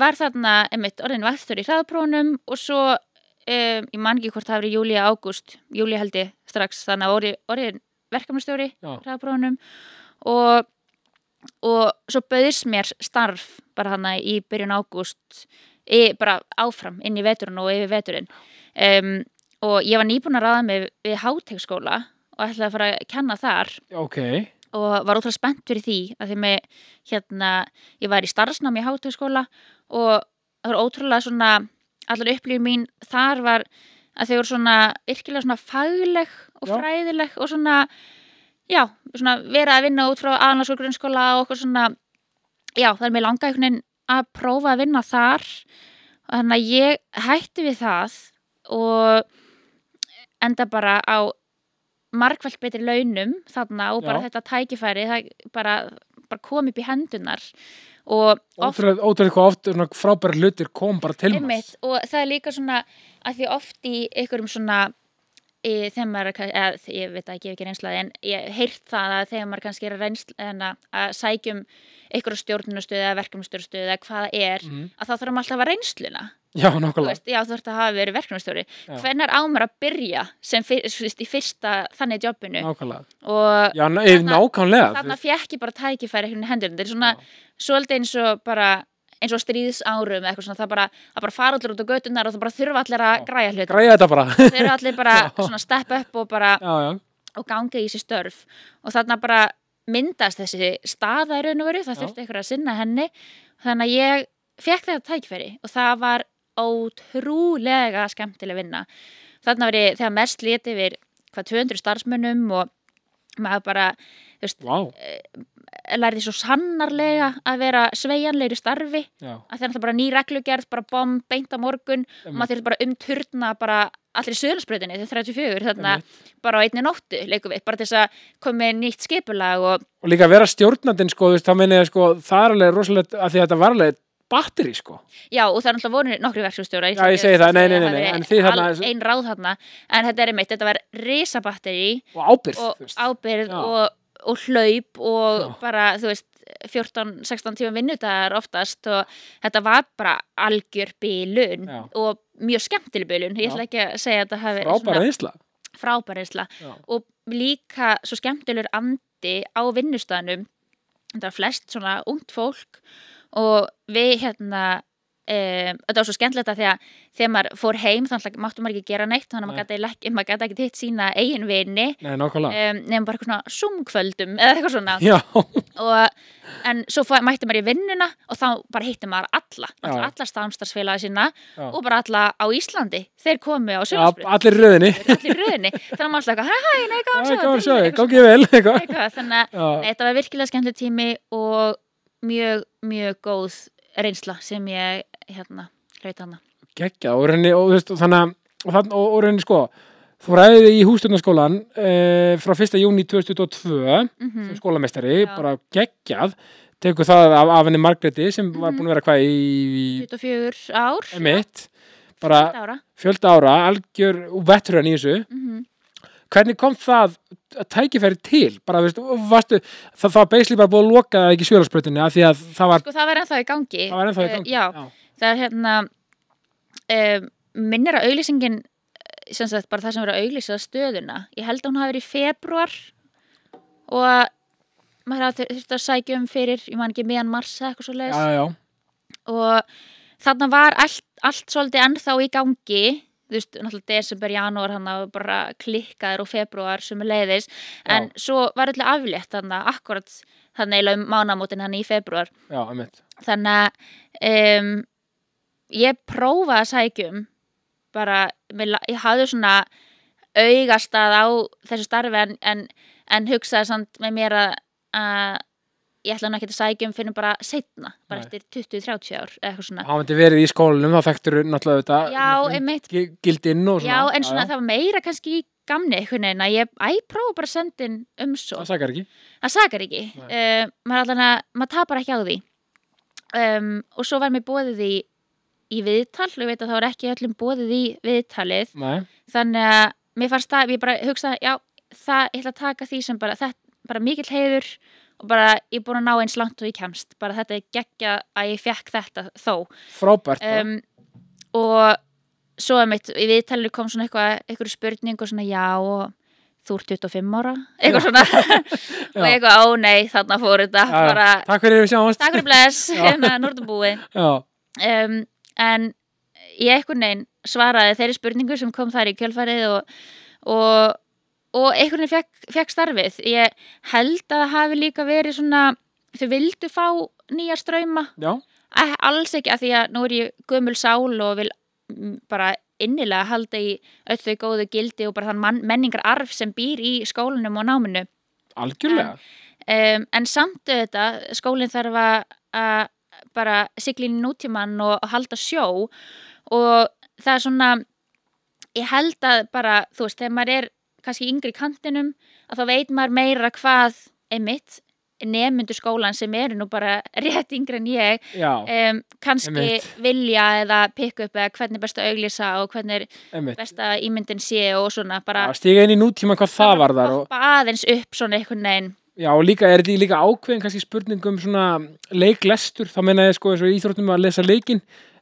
var þarna, einmitt, orðin vaktur í hraðaprónum og svo um, ég man ekki hvort það hafi verið júli eða ágúst júli held ég strax, þannig að orði, orðin verkefnastjóri Já. hraðaprónum og, og svo bauðist mér starf bara hana í byrjun ágúst í- bara áfram inn í veturinn og yfir veturinn um, og ég var nýbúin að ráða mig við hátegskóla og ætlaði að fara að kenna þar Ok, og var ótrúlega spennt fyrir því að því með, hérna, ég var í starfsnám í hátökskóla og það var ótrúlega svona, allar upplýjum mín þar var að þau voru svona virkilega svona fagleg og Já. fræðileg og svona, já, svona vera að vinna út frá aðanlags og grunnskóla og okkur svona, já, það er mér langa einhvern veginn að prófa að vinna þar og þannig að ég hætti við það og enda bara á margfælt betri launum þarna og bara Já. þetta tækifæri það bara, bara kom upp í hendunar og oft ótrúlega ótrúlega hvað oft svona frábæri hlutir kom bara til einmitt, og það er líka svona að því oft í einhverjum svona í, þegar maður, er kann- eða, þ- ég veit það ekki, ég hef ekki reynslaði en ég hef heyrt það að þegar maður kannski er að, reynsla, en að, að sækjum einhverja stjórnunarstöðu eða verkefnumstöðurstöðu eða hvað það er, Mhm. að þá þarf maður alltaf að hafa reynsluna Já, Þú nákvæmlega. veist, já, þú ert að hafa verið verkefnumstjóri Já. hvenær ámar að byrja sem fyr, þú veist, í fyrsta þannig jobbinu Nákvæmlega. og Já, ná, þarna, eh, Þarna- nákvæmlega. þarna þú- fjekk ég bara tækifæri einhvern veginn hendur, þetta er svona Já. svolítið eins og bara eins og stríðs árum eitthvað svona, það bara, það bara fara allir út á götunar og það bara þurfa allir að Já. græja hlut Græja þetta bara. þeir eru allir bara Já. svona step up og bara já, já. og ganga í þessi störf og þarna bara myndast þessi staða í raun og veru, það Já. þurfti einhver að sinna henni þannig að ég fekk þetta tækifæri og það var ótrúlega skemmtileg vinna þarna var ég þegar mest liti yfir hvað 200 starfsmönnum og maður bara Vá, lærði svo sannarlega að vera sveigjanlegri starfi já. að það er náttúrulega bara ný reglugerð, bara bomb, beint á morgun og maður þurfti bara umturna bara allir söðansbreytinni til 34 þarna bara á einni nóttu leikum við, bara til þess að koma með nýtt skipulag og Og líka að vera stjórnandinn, sko, þú veist, þá meina ég, sko, það er alveg rosalega, að því að þetta var alveg batteri, sko. já, og það er náttúrulega voru nokkri verkstjóra Já, ég segi það, nei, nei, nei, nei, en þið þarna- Einn ráð þarna, en þetta er einmitt, þetta var risabatteri Og ábyrð, og þú veist. ábyrð Já. og, og hlaup og Já. bara, þú veist 14-16 tíma vinnudagar oftast og þetta var bara algjör bylun Já. og mjög skemmtileg bylun, ég Já. ætla ekki að segja að þetta hafi verið Frábæra svona einsla. frábærinsla Já. og líka svo skemmtilegur andi á vinnustæðanum þetta var flest svona ungt fólk og við hérna Um, þetta var svo skemmtilegt að því að þegar maður fór heim þannig máttum maður ekki gera neitt þannig að Nei. maður gæti ekki, maður gat ekki hitt sína eigin vini Nei, nákvæmlega. um, nefnum bara eitthvað svona sumkvöldum eða eitthvað svona Já, og, en svo fæ, mætti maður í vinnuna og þá bara hitti maður alla Já. alla, alla stafnstarsfélagi sína Já. og bara alla á Íslandi þeir komu Já, á sögurspil allir í röðinni. allir í röðinni þannig að maður slaka, hæ hæ, nei, Já, gaman að sjá gaman að þig, sjá þig, eitthvað gangi vel, eitthvað. eitthvað, þannig að Já. þetta var virkilega skemmtileg tími og mjög, mjög góð reynsla sem ég hérna, hlaut hana geggja og rauninni og, þú veist, og þannig að- og, þann, og, og rauninni sko þú ræðið í hústjórnarskólan e, frá 1. júni 2022 sem skólameistari, Mhm. Já. bara geggjað tekur það af, af henni Margréti sem Mhm. var búin að vera hvað í, 24 ár, í mitt, bara 8 ára fjölda ára, algjör og vettruðan í þessu mm hvernig kom það að tækifæri til bara, þú veist, og varstu, það, það var beisli bara búið að loka það ekki sjölarsbrutinu af því að það var, sko það var ennþá í gangi það var ennþá í Eh, gangi já, já, það er hérna um, minnir að auglýsingin eh, sem sagt bara það sem verið að auglýsa stöðuna ég held að hún hafi verið í februar og að maður hafi þur- þurfti að sækja um fyrir ég man ekki meðan mars eða eitthvað svo já, já, og þarna var allt, allt svolítið ennþá í gangi þú veist, náttúrulega desember, janúar hann bara klikkaður og februar sem er leiðis, en svo var öllu aflétt þarna, akkurat þarna eiginlega um mánamótin hann í februar já, einmitt. þannig að um, ég prófaði að sækjum bara, mig la- ég hafði svona augastað á þessu starfi en, en, en hugsaði samt með mér að, að ég ætla nú ekki að sækja um fyrir bara setna, bara Nei. eftir 20-30 ár eða eitthvað svona. Há myndi verið í skólanum, þá þekktur náttúrulega þetta Já, um einmitt. gi- gildinn og svona. Já, en svona það var meira kannski í gamni einhvern veginn að ég, æ, prófa bara að senda inn um umsókn. Það sakar ekki. það sakar ekki Nei. uh, maður allan að, maður tapar ekki á því um, og svo var mér bóðið í í viðtal, og ég veit að það var ekki öllum bóðið í viðtalið, Nei, þannig að mér fannst það, ég bara hugsaði, já það, ég ætla að taka því sem bara, þetta, bara mikill heiður og bara, ég er búin að ná eins langt og ég kemst, bara þetta er geggja að ég fekk þetta þó frábært. bara. um, og svo einmitt, í viðtalinu kom svona eitthvað, eitthvað spurning og svona já og þú ert 25 ára eitthvað svona og Já. eitthvað ó nei þarna fór þetta Já, já. bara Takk fyrir við sjáumst. takk fyrir bless Já. hérna nortunbúi Já, um, en ég eitthvað neginn svaraði þeirri spurningu sem kom þar í kjölfarið og, og, og eitthvað neginn fekk, fekk starfið ég held að það hafi líka verið svona þau vildu fá nýja ströyma já, Eh, alls ekki að því að nú er ég gömul sál og vil mm, bara innilega halda í öll þau góðu gildi og bara þann mann, menningar arf sem býr í skólanum og náminu algjörlega. um, en samt auðvitað, skólinn þarf að- að bara sigla inn í nútíman og, og halda sjó og það er svona ég held að bara, þú veist, þegar maður er kannski yngri í kantinum, að þá veit maður meira hvað, einmitt nemyndu skólan sem eru nú bara rétt yngri en ég Já, um, kannski Einmitt. vilja eða pikk upp eða hvernig er best að auglýsa og hvernig er einmitt. best að ímyndin sé og svona bara Já, Stíga inn í nútíma hvað það var þar og, hoppa aðeins upp svona einhvern veginn já, og líka er þetta í líka ákveðin kannski spurningum svona leiklestur, þá meina ég sko eins og í íþróttum að lesa leikin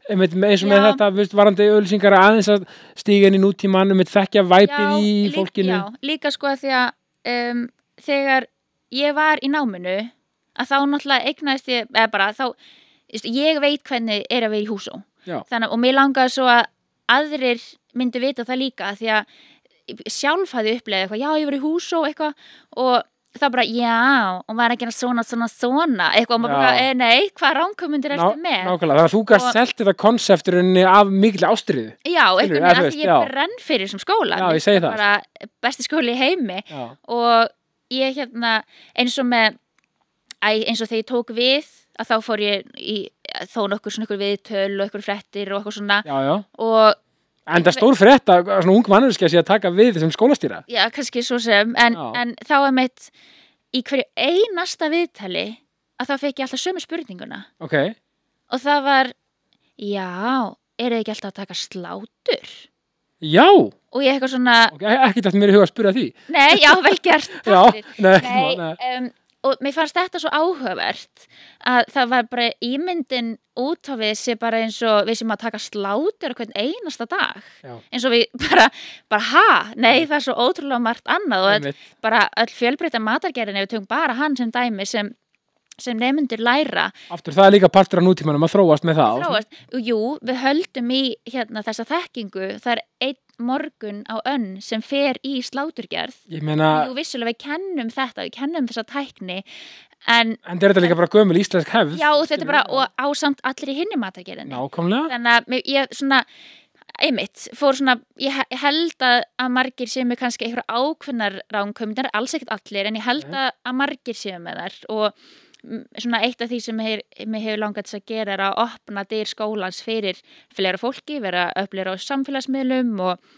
einmitt með- eins og með Já. þetta, viðst, varandi ölsingar aðeins að stíga inn í nútíman einmitt þekkja væpið í lí- fólkinu já, líka sko að því að um, þegar ég var í náminu að þá náttúrulega eignaðist ég eða bara þá, þú veist, ég veit hvernig er að vera í húsó Já. Þannig, og mér langaði svo að aðrir myndu vita það líka því að sjálf hafði upplegað eitthvað, já ég var í húsó eitthvað og það bara, já, og maður er að gera svona, svona, svona eitthvað, og maður Já. bara, "Eh, nei, hvað ránkomundir Ná- ertu með? nákvæmlega, þannig að þú gæst Og- selt þetta konsepturinni af mikil ástriðu Já, Skilur, einhvern eða veginn þú að veist, því já. ég brenn fyrir þessum skóla Já, Mér ég segi finnst það, bara besti skóli í heimi já, og ég hérna eins og með æ, eins og þegar ég tók við að þá fór ég í þó nokkur svona ykkur viðtöl og ykkur frettir og eitthvað svona já, já. og en það stór frétt að að svona ung mannurskja sé að taka við sem skólastýra já, kannski svo sem en, Já. en þá er mitt í hverju einasta viðtali að þá fekk ég alltaf sömu spurninguna ok, og það var já, er þið ekki alltaf að taka slátur? já, og ég eitthvað svona, okay. ekki þetta mér í huga að spyrja því nei, já, vel gert takk já, fyrir." nei, ekki Nei, mál, nei. um, og mér fannst þetta svo áhugavert að það var bara ímyndin út á við sé bara eins og við sem að taka slátur hvern einasta dag Já. eins og við bara, bara ha, nei það er svo ótrúlega margt annað og öll, Einmitt. bara öll fjölbreyta matargerðin ef við tökum bara hann sem dæmi sem, sem nefnundur læra aftur það er líka partur af nútímanum að þróast með það þróast, jú, við höldum í hérna þessa þekkingu, það er einn morgun á önn sem fer í sláturgerð ég meina, Jú, vissulega við kennum þetta, við kennum þessa tækni en en þetta er líka bara gömul íslensk hefð já, þetta er skilurðu, bara já. og ásamt allir í hinni matargerðinni nákvæmlega, þannig að mér- ég svona einmitt, fór svona, ég he- ég held að, að margir séu með kannski einhverja ákveðnar ránkömyndar, alls ekkert allir en ég held Nei. að, að margir séu með þar og mm, svona eitt af því sem mér mér hefur langað þess að gera er að opna dyr skólans fyrir fleira fólki, vera öflera á samfélagsmiðlum og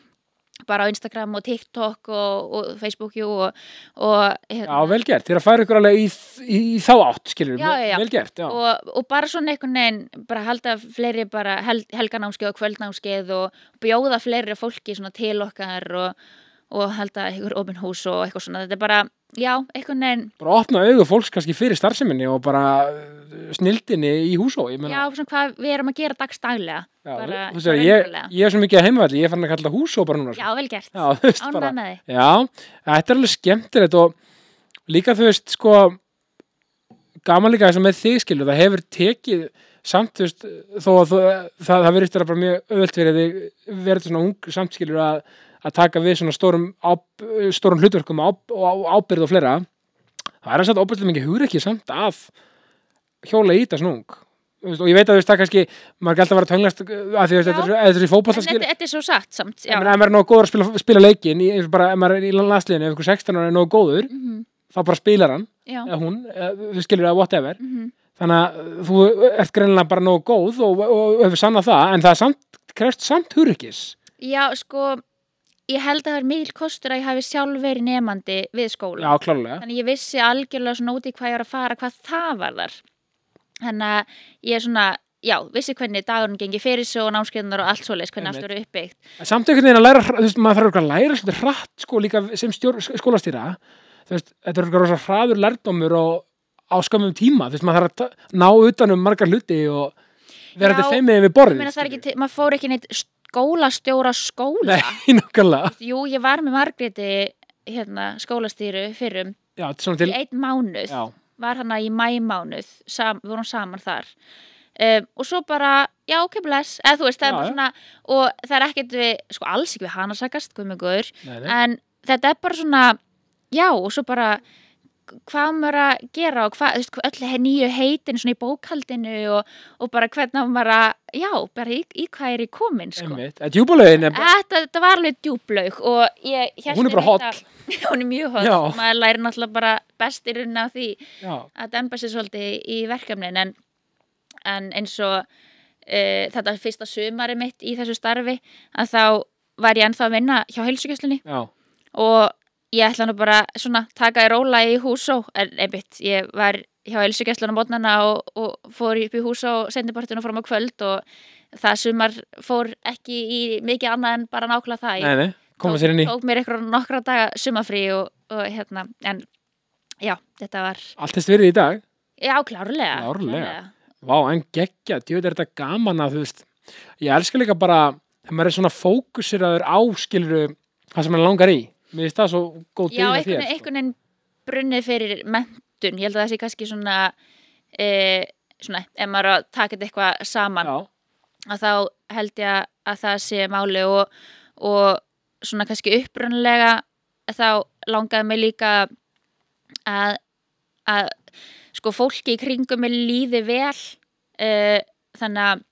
bara á Instagram og TikTok og, og Facebooku og, og hérna, já, vel gert þér að færa ykkur alveg í, í, í þá átt skilur, Já, já, já. vel gert, já, og, og bara svona einhvern veginn bara halda fleiri bara hel, helganámskeið og kvöldnámskeið og bjóða fleiri fólki svona til okkar og, og halda einhver open hús og eitthvað svona þetta er bara, já, einhvern veginn bara opna augu fólks kannski fyrir starfseminni og bara uh, snildinni í húsó, ég meina já, svona hvað við erum að gera dagstaglega Já, bara þú sér, bara ég, raunverulega. ég er svo mikið að heimavalli, ég er farin að kalla hús og bara núna. sko. já, vel gert, já þú veist bara. ánægð með þið Já, þetta er alveg skemmtilegt og líka þú veist, sko, gaman líka þess að með þig skilur, það hefur tekið samt, þú veist, þó að þú, það, það verið þetta bara mjög öðvöld fyrir þig, verið svona ung samt skilur að, að taka við svona stórum, áp, stórum hlutverkum á, á, ábyrð og fleira. Það er að satt óbyrðlega mikið hugrekkið samt að hjóla í þetta svona ung. þú veist, og ég veit að þú veist það kannski maður gælt að vera tónglast að því þú veist, Já. þetta er svo- þetta er svo í fótbolta þetta, skil þetta er svo satt samt já, en ef maður er nógu góður að spila, spila leikin í- eins og bara ef maður er í landsliðinu ef einhver 16 ára er nógu góður þá bara spilar hann Mhm. já, eða hún, eða þú skilur það whatever Mhm. þannig að þú ert greinilega bara nógu góð og, og, og hefur sannað það en það er samt, krefst samt hurikis já, sko ég held að það er mikil kostur að ég hafi sjálf verið nefandi við skóla já, klárlega þannig ég vissi algjörlega svona út í hvað ég var að fara hvað það var þar þannig að ég er svona já, vissi hvernig dagurinn gengi fyrir sig og námskeiðunar og allt svoleiðis, hvernig allt Einmitt. verið uppbyggt En samt einhvern veginn að læra, hra- þú veist, maður þarf örugglega að læra svolítið hratt sko líka sem stjór, skólastýra þú veist, þetta er örugglega rosa hraður lærdómur og á skömmum tíma þú veist, maður þarf að ta- ná utan um margar hluti og vera Já, þetta feimið við ég borðið meina það er ekki, til- maður fór ekki neitt skólastjóra skóla Nei, nokkulega jú, ég var með Margréti hérna, skólastýru fyrrum Já, svona til í einn mánuð Já, var hana í mæmánuð sam, við vorum saman þar um, og svo bara, já ok bless eða þú veist, það Já, er bara já. svona og það er ekkert við, sko alls ekki við hana sakast guðmugur, nei, nei en þetta er bara svona já, og svo bara hvað á maður að gera og hvað, þú veist, öll he- nýju heitin svona í bókaldinu og, og bara hvernig á maður að, já, bara í, í hvað er í komin, sko Einmitt, að djúbulögin er bara Þetta, þetta var alveg djúblaug og ég hélt Hún er bara einmitt að- Hún er mjög holl, Já. maður læri náttúrulega bara bestir inn á því Já, að demba sér svolítið í verkefnin en, en eins og uh, þetta fyrsta sumari mitt í þessu starfi að þá var ég ennþá að vinna hjá heilsugjæslinni já, og ég ætla nú bara svona taka í róla í húsó en einmitt, ég var hjá heilsugjæslunum mótnana og, og fór upp í húsó og sendipartinu fram á kvöld og það sumar fór ekki í mikið annað en bara nákvæmlega það Ég nei, nei Koma sér inn í, tók mér eitthvað nokkra daga sumafrí og, og hérna, en já, þetta var allt þess verið í dag Já, klárlega. Klárlega. Vá, en geggja, djúið er þetta gaman að þú veist Ég elska líka bara þegar maður er svona fókusiraður á skiluru það sem maður langar í Mér finnst það svo góð Já, dýna einhvern veginn- einhvern veginn brunnið fyrir mentun. Ég held að það sé kannski svona, e, svona ef maður er að taka þetta eitthvað saman, Já, að þá held ég að það sé máli og, og svona kannski upprunlega þá langaði mig líka að, að sko fólki í kringum mig líði vel e, þannig að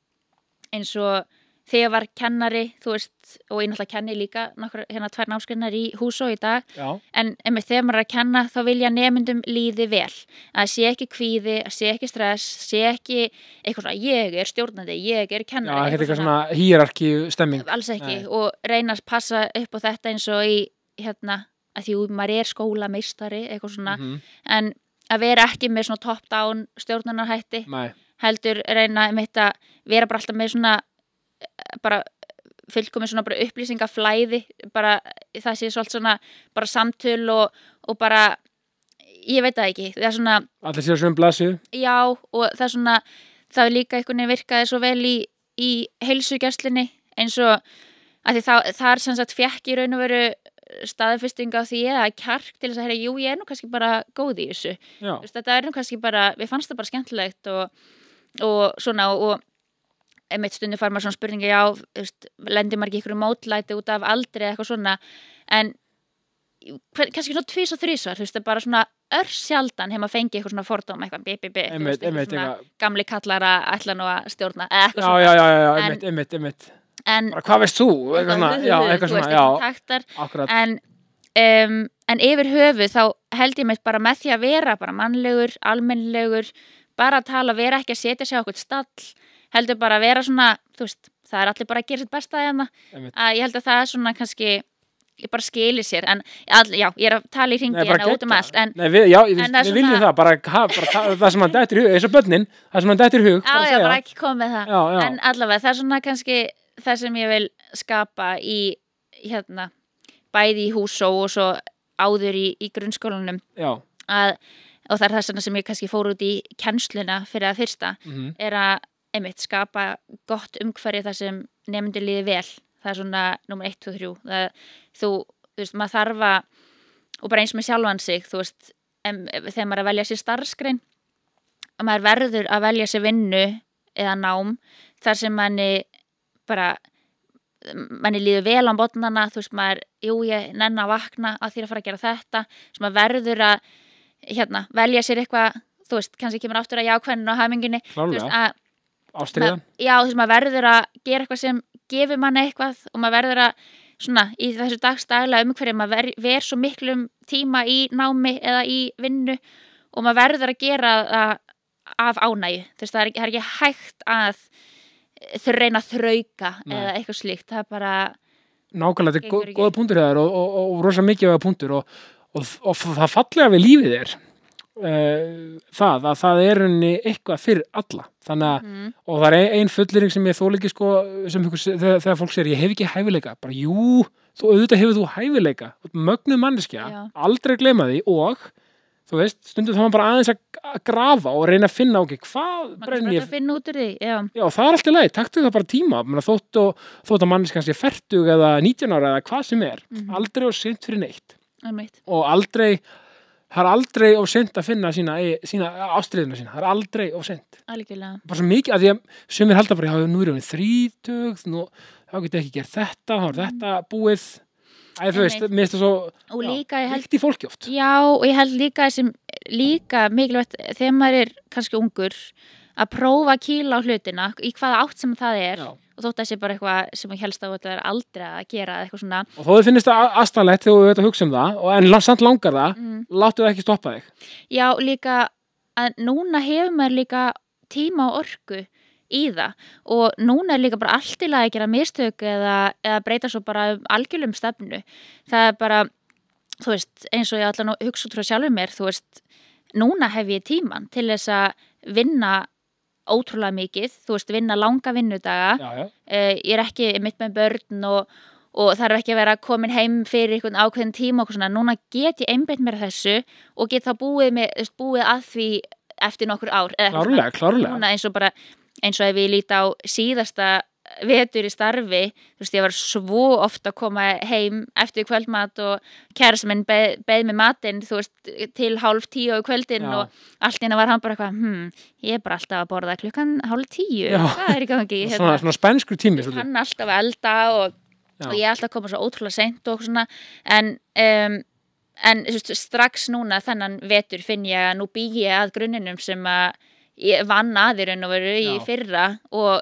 eins og þegar ég var kennari, þú veist, og ég náttúrulega kenni líka nokkur, hérna tvær námskrinnar í hús og í dag já, en einmitt þegar maður er að kenna þá vilja nefndum líði vel að sé ekki kvíði, að sé ekki stress sé ekki eitthvað svona ég er stjórnandi, ég er já, kennari þetta er eitthvað svona hýrarki stemming alls ekki Nei. og reyna að passa upp á þetta eins og í hérna að því jú, maður er skólameistari eitthvað svona Mhm. en að vera ekki með svona top down stjórnunarhætti Nei, heldur reyna einmitt að vera bara alltaf með svona eh, bara fylgkomi svona bara upplýsingaflæði bara það sé svolítið svona bara samtöl og, og bara ég veit það ekki, það er svona allir séu svona blassu já og það er svona það er líka einhvern veginn virkaði svo vel í, í heilsugjastlinni eins og að því það, það er sem sagt fjekk í raun og veru staðfestinga á því eða kjark til þess að heyra, jú ég er nú kannski bara góð í þessu Já, Þú veist, þetta er nú kannski bara, við fannst það bara skemmtilegt og, og svona og einmitt stundu fær maður svona spurningi já, þú veist, lendir maður ekki ykkur mótlæti út af aldri eða eitthvað svona en hver- kannski svona tvís og þrísvar, þú veist, það er bara svona ör sjaldan hefur maður fengið eitthvað svona fordóma eitthvað, bí, bí, bí, þú einmitt, veist, eitthvað einmitt, svona eitthvað gamli kallara ætla nú að stjórna eða eitthvað Já, já, já, já, já, En- einmitt, einmitt, einmitt svona en, Bara, Hvað veist þú? Eitthvað svona, já, eitthvað þú veist, svona, já, taktar akkurat en, um, en yfir höfu þá held ég mér bara með því að vera bara mannlegur, almennlegur bara að tala, vera ekki að setja sig á okkur stall heldur bara að vera svona þú veist, það er allir bara að gera sitt besta hérna Einmitt. að ég held að það er svona kannski ég bara skili sér en all, já, ég er að tala í hringi Nei, bara hérna út um geggjað. allt en Nei, við, já, við, En það er við viljum svona- það, bara, ha, bara það, það sem hann dættir í hug, eins og börnin, það sem hann dættir í hug, á, bara ég segja. var ekki komið með það Já, já, en allavega það er svona kannski það sem ég vil skapa í hérna, bæði í húsó og svo áður í, í grunnskólanum já, að, og það er þess vegna sem ég kannski fór út í kennsluna fyrir að fyrsta mhm, er að einmitt skapa gott umhverju þar sem nefndi líði vel það er svona nummer 1, 2, 3 það, þú, þú veist, maður þarf að og bara eins með sjálfan sig þú veist, em, þegar maður er að velja sér starfskrein að maður verður að velja sér vinnu eða nám þar sem manni bara manni líður vel á botnana þú veist maður, jú ég nenn að vakna að því að fara að gera þetta þú veist maður verður að hérna, velja sér eitthvað þú veist, kannski kemur aftur að jákvæðinu og hamingunni þú veist, klálega, að, ástriðan já, þess að maður verður að gera eitthvað sem gefur manni eitthvað og maður verður að svona í þessu dagstæðlega umhverju maður ver, ver svo miklum tíma í námi eða í vinnu og maður verður að gera það af ánægju þú veist, það er, ekki- það er ekki hægt að þau reyna að þrauka Nei. eða eitthvað slíkt, það er bara nákvæmlega, þetta er Gengur gó- ekki. góða punktur hjá þér og, og, og, og rosa mikilvæga punktur og, og, og f- það fallega við lífið er uh, það að það er henni eitthvað fyrir alla þannig að, mm, og það er ein, ein fulliring sem ég þóleiki sko, sem ykkur, þegar, þegar fólk segir ég hef ekki hæfileika, bara jú þú auðvitað hefur þú hæfileika, Þú ert mögnuð manneskja Já. aldrei gleyma því og þú veist, stundum þá maður bara aðeins að að grafa og reyna að finna, ok, hvað maður brenn kannski bara ég að finna út úr því já, Já, það er alltaf leið, taktu það bara tíma Menna, þótt, og, þótt að mannis kannski fertug eða 19 ára eða hvað sem er Mhm. aldrei og sent fyrir neitt einmitt og aldrei, það er aldrei og sent að finna sína, e- sína ástriðina sína það er aldrei og sent algjörlega, bara svo mikið, að því að sumir halda bara já, nú erum við þrítug nú, þá get ég ekki gert þetta, þá er þetta búið Æ, þú veist, Mm. Einmitt. mér finnst það svo og já, líka ég held líkt í fólki oft Já, og ég held líka sem líka mikilvægt þegar maður er kannski ungur að prófa að kýla á hlutina í hvaða átt sem það er Já. og þótt að það sé bara eitthvað sem ég helst á að það er aldrei að gera eða eitthvað svona og þó þið finnist það astanlegt þegar við veit að hugsa um það og en samt langar það, mm. láttu það ekki stoppa þig Já, líka að núna hefur maður líka tíma og orku í það og núna er líka bara allt í lagi að gera mistök eða, eða breyta svo bara um algjörlum stefnu það er bara, þú veist, eins og ég allan að hugsa út frá sjálfum mér, þú veist núna hef ég tíman til þess að vinna ótrúlega mikið þú veist, vinna langa vinnudaga já, já. uh, ég er ekki mitt með börn og, og þarf ekki að vera komin heim fyrir einhvern ákveðin tíma og eitthvað svona, núna get ég einbeitt mér að þessu og get þá búið, með, þú veist, búið að því eftir nokkur ár eða eitthvað svona. klárlega, klárlega núna eins og bara eins og ef ég líti á síðasta vetur í starfi, þú veist ég var svo oft að koma heim eftir kvöldmat og kærasminn beð, beð með matinn, þú veist, til hálf tíu á kvöldin Já. og allt innan var hann bara eitthvað, hm, ég er bara alltaf að borða klukkan hálf tíu, Já. hvað er í gangi svona, svona spænskur tími Þú veist, svolítið. hann er alltaf að elda og, Já. og ég er alltaf að koma svo ótrúlega seint og okkur svona en, um, en þú veist, strax núna þennan vetur finn ég að nú bý ég að grunninum sem að ég vann aðir en og veru í Já. fyrra og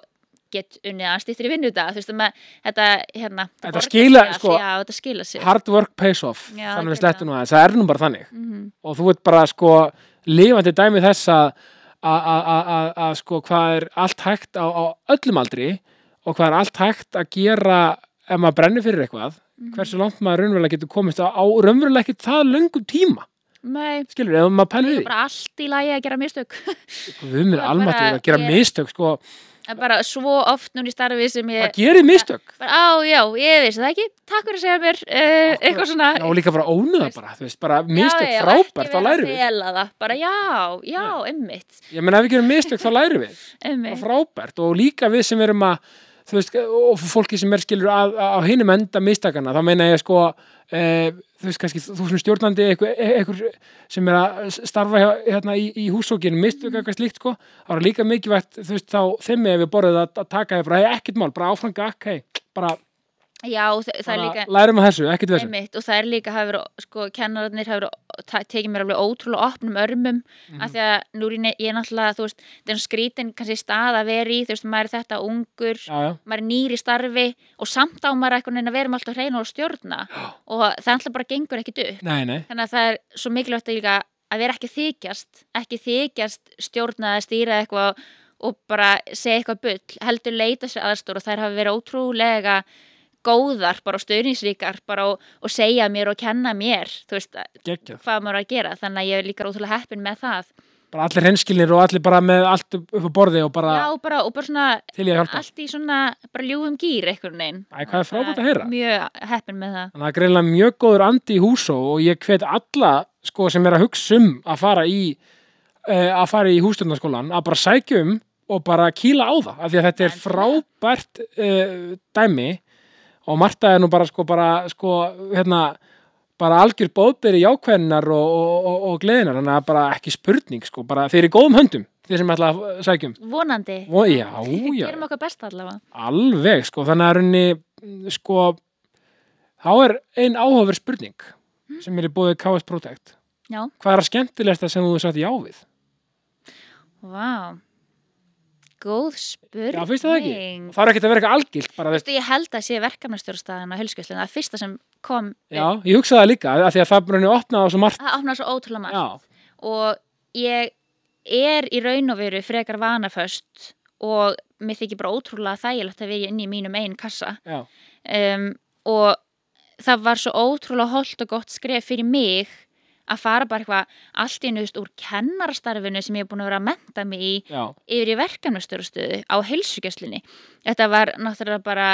get unnið að stýttir í vinnu þetta þú veist um að þetta hérna Þetta borgar skila, sig allt, sko, já, þetta skila sig hard work pays off Já, þannig við algjörlega. slettum nú aðeins, það er nú bara þannig Mhm. og þú ert bara sko lifandi dæmi þess að að- að- að að- að sko hvað er allt hægt á, á öllum aldri og hvað er allt hægt að gera ef maður brennir fyrir eitthvað Mhm. hversu langt maður raunverulega getur komist á, á raunverulega ekki það löngum tíma Nei, skilur, ef maður pælir í því það er bara allt í lagi að gera mistök við mér bara- almatur að gera ég- mistök sko, Það er bara svo oft núna í starfi sem bara ég gerið mistök bara, á já, ég veist það ekki takk fyrir að segja mér uh, eitthvað svona Já, og líka bara ónöða Veist. bara, þú veist, bara mistök já, já, frábært, þá lærum við Ekki vera að fela það, bara já, já, einmitt, ég menn ef við gerum mistök, þá lærum við og einmitt. frábært og líka við sem erum að þú veist, og fólki sem er skilur að, að, á hinum enda mistakana, þá meina ég sko e, þú veist kannski, þú sem stjórnandi einhver, einhver sem er að starfa hjá, hérna í, í húsókinu Mhm. mistök eitthvað slíkt sko, þá er líka mikilvægt þú veist, þá þeim ef við borðið að, að taka þér bara "Hey, ekkert mál, bara áfram gakk, hei bara, Já, það, það er bara líka, lærum að þessu, ekkert þessu einmitt, og það er líka, hafa verið, sko, kennararnir hafa verið, ta- tekið mér alveg ótrúlega opnum örmum, Mhm. af því að nú er ég- ég er náttúrulega, þú veist, það er skrítin kannski stað að vera í, þú veist, maður er þetta ungur, já, já, maður er nýr í starfi og samt á maður eitthvað en að vera með alltaf hreinu og stjórna og það alltaf bara gengur ekkit upp. nei, nei þannig að það er svo mikilvægt að líka að vera ekki að þykjast ekki þykjast stjórna eða stýra eitthvað og bara segja eitthvað bull heldur leita sér aðstór og þær hafa verið ótrúlega góðar bara og stöðningsríkar bara og, og segja mér og kenna mér þú veist að- geggjað, hvað maður á að gera þannig að ég er líka ótrúlega heppin með það bara allir hreinskilnir og allir bara með allt upp upp á borði og bara já bara og bara svona til ég að hjálpa allt í svona bara ljúfum gýr einhvern veginn Æ, hvað er frábært að heyra mjög heppin með það Þannig að það er greinlega mjög góður andi í húsó og ég hvet alla sko, sem er að hugsa um að fara í uh, að fara í hústjórnarskólan að bara sækja um og bara kýla á það af því að þetta er frábært uh, dæmi og Marta er nú bara sko, bara, sko hérna, bara algjör bóðberi jákvæðinar og, og, og, og gleðinar þannig að bara ekki spurning sko, bara þeir eru í góðum höndum þeir sem ætla að sækja um vonandi og, já, já, gerum okkar best allavega Alveg, sko, þannig að runni, sko, þá er ein áhofur spurning Hmm? sem er í bóðið KS Protect. já Hvað er að skemmtilegsta sem þú hefur sagt já við? Vá, góð Já, spurning. finnst þér það ekki? Það er ekkert að vera eitthvað algilt, bara Þú veist, veist, ég held að sé verkefnastjórnstæðan á helskjöslinu, það er fyrsta sem kom, upp. já, ég hugsaði það líka, af því að það brunni opnaði á svo margt, það opnaði svo ótrúlega margt. já, og ég er í raun og veru frekar vanaföst og mér þykir bara ótrúlega þægilegt að vera inn í mínum einn kassa já, um, og það var svo ótrúlega holdt og gott skref fyrir mig að fara bara eitthvað allt í nöðust úr kennarastarfinu sem ég er búin að vera að menta mig í já, yfir í verkefnastöðustöðu á heilsugjöslinni. Þetta var náttúrulega bara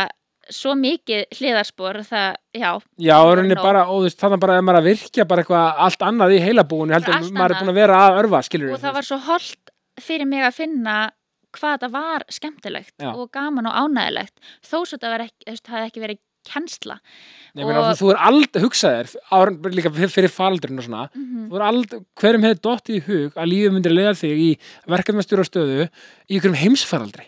svo mikið hliðarspor að það, já, já, og rauninni Nóg. bara, og þú veist, þannig bara að maður er að virkja bara eitthvað allt annað í heilabúinu, heldur Bara allt en maður annað. er búin að vera að örfa, skilur og það var svo holdt fyrir mig að finna hvað það var skemmtilegt Já. og gaman og ánægilegt þó svo þetta var ekki, þú veist, það hafði ekki verið kennsla Nei, meina, og- þú, þú er aldrei, hugsa þér, ára, líka fyr- fyrir faraldurinn og svona, þú er aldrei, hverjum hefði dottið í hug að lífið myndir leiða þig í verkefnastjóra stöðu í ykkurum heimsfaraldri.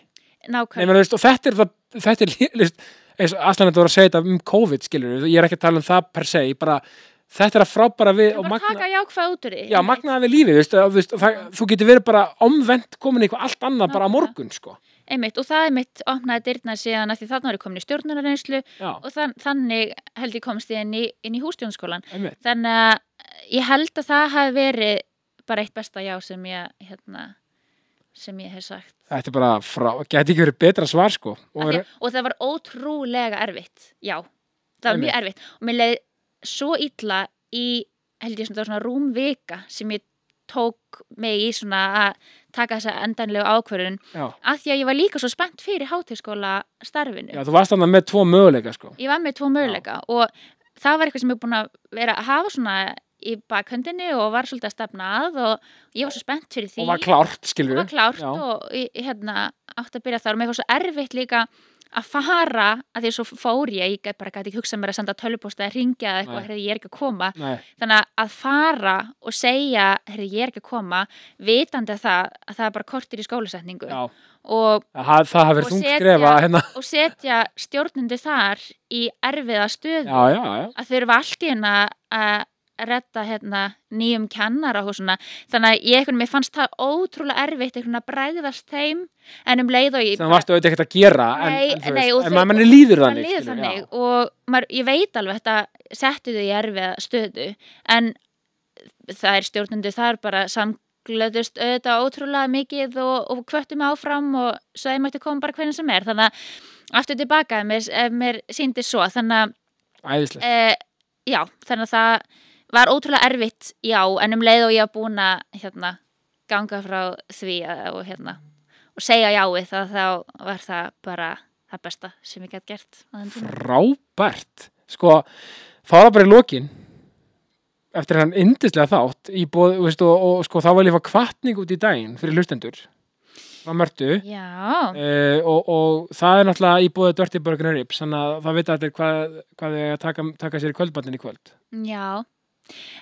Nei, nákvæmlega meina, þú veist, og þetta er það, þetta er, lí- þú veist, eins og Aslan þetta voru að segja þetta um COVID, skilur við, ég er ekki að tala um það per se, bara, þetta er að frábara við og og bara magna, taka jákvæð út úr því já, magnaða við lífið, þú veist, að- þú veist, það, þú getur verið bara omvend komin í eitthvað allt annað bara á Nákvæmlega. morgun, sko. einmitt, og það einmitt opnaði dyrna síðan að því þarna var ég komin í stjórnunarreynslu Já, og þann, þannig held ég komst ég inn í, inn í hústjónskólan einmitt. þannig að eh, ég held að það hafi verið bara eitt besta já sem ég hérna, sem ég hef sagt Þetta er bara frá, geti ekki verið betra svar, sko. og, Og, því, og það var ótrúlega erfitt já, það var mjög erfitt og mér leið svo illa í held ég svona, það var svona rúm vika sem ég tók mig í svona að taka þessa endanlegu ákvörðun já, af því að ég var líka svo spennt fyrir hátíðskóla starfinu já, þú varst annað með tvo möguleika, sko. ég var með tvo möguleika og það var eitthvað sem ég er búin að vera að hafa svona í bakhöndinni og var svolítið að stefna að og ég var svo spennt fyrir því og var klárt, skilur og við var klárt já, og ég- ég, hérna, átti að byrja þar og mér var svo erfitt líka að fara að því að svo fór ég, ég gat- bara gæti ekki hugsað mér að senda tölvupósta eða ringja eða eitthvað, Nei. heyrðu ég er ekki að koma Nei, þannig að- að fara og segja heyrðu ég er ekki að koma, vitandi að það að það er bara kortir í skólasetningu já, og, það, það hafi verið Og þungt setja- skref að hérna og setja stjórnundu þar í erfiða stöðu já, já, já, að þau eru allt í hérna að redda hérna nýjum kennara og svona, þannig að ég einhvern veginn fannst það ótrúlega erfitt einhvern veginn að bregðast þeim en um leið og ég sem varstu auðvitað ekkert að gera en, Nei, en, þú nei, veist, og en þau- maður manni líður bara þannig, liður skilur, þannig já. og maður, ég veit alveg þetta settu þau í erfiða stöðu en það er stjórnundu þar bara samglöðust auðvitað ótrúlega mikið og, og kvöttu mig áfram og svo þeim mætti koma bara hvernig sem er þannig að aftur tilbaka ef mér, ef mér síndi svo þannig að æðislegt, uh, já, þannig að það var ótrúlega erfitt, já, en um leið og ég var búin að hérna, ganga frá því að, og, hérna, og segja jáið þá, þá var það bara það besta sem ég gætt gert á þeim tíma. frábært sko, fara bara í lokin eftir hann yndislega þátt í bóð, þú veist, og, og sko þá var lífa kvartning út í daginn fyrir hlustendur frá mörtu Já, Uh, og, og það er náttúrulega í bóðið Dirty Burger and Ribs, þannig að það vita allir hvað, hvað þau eiga að taka, taka sér í kvöldbannin í kvöld. já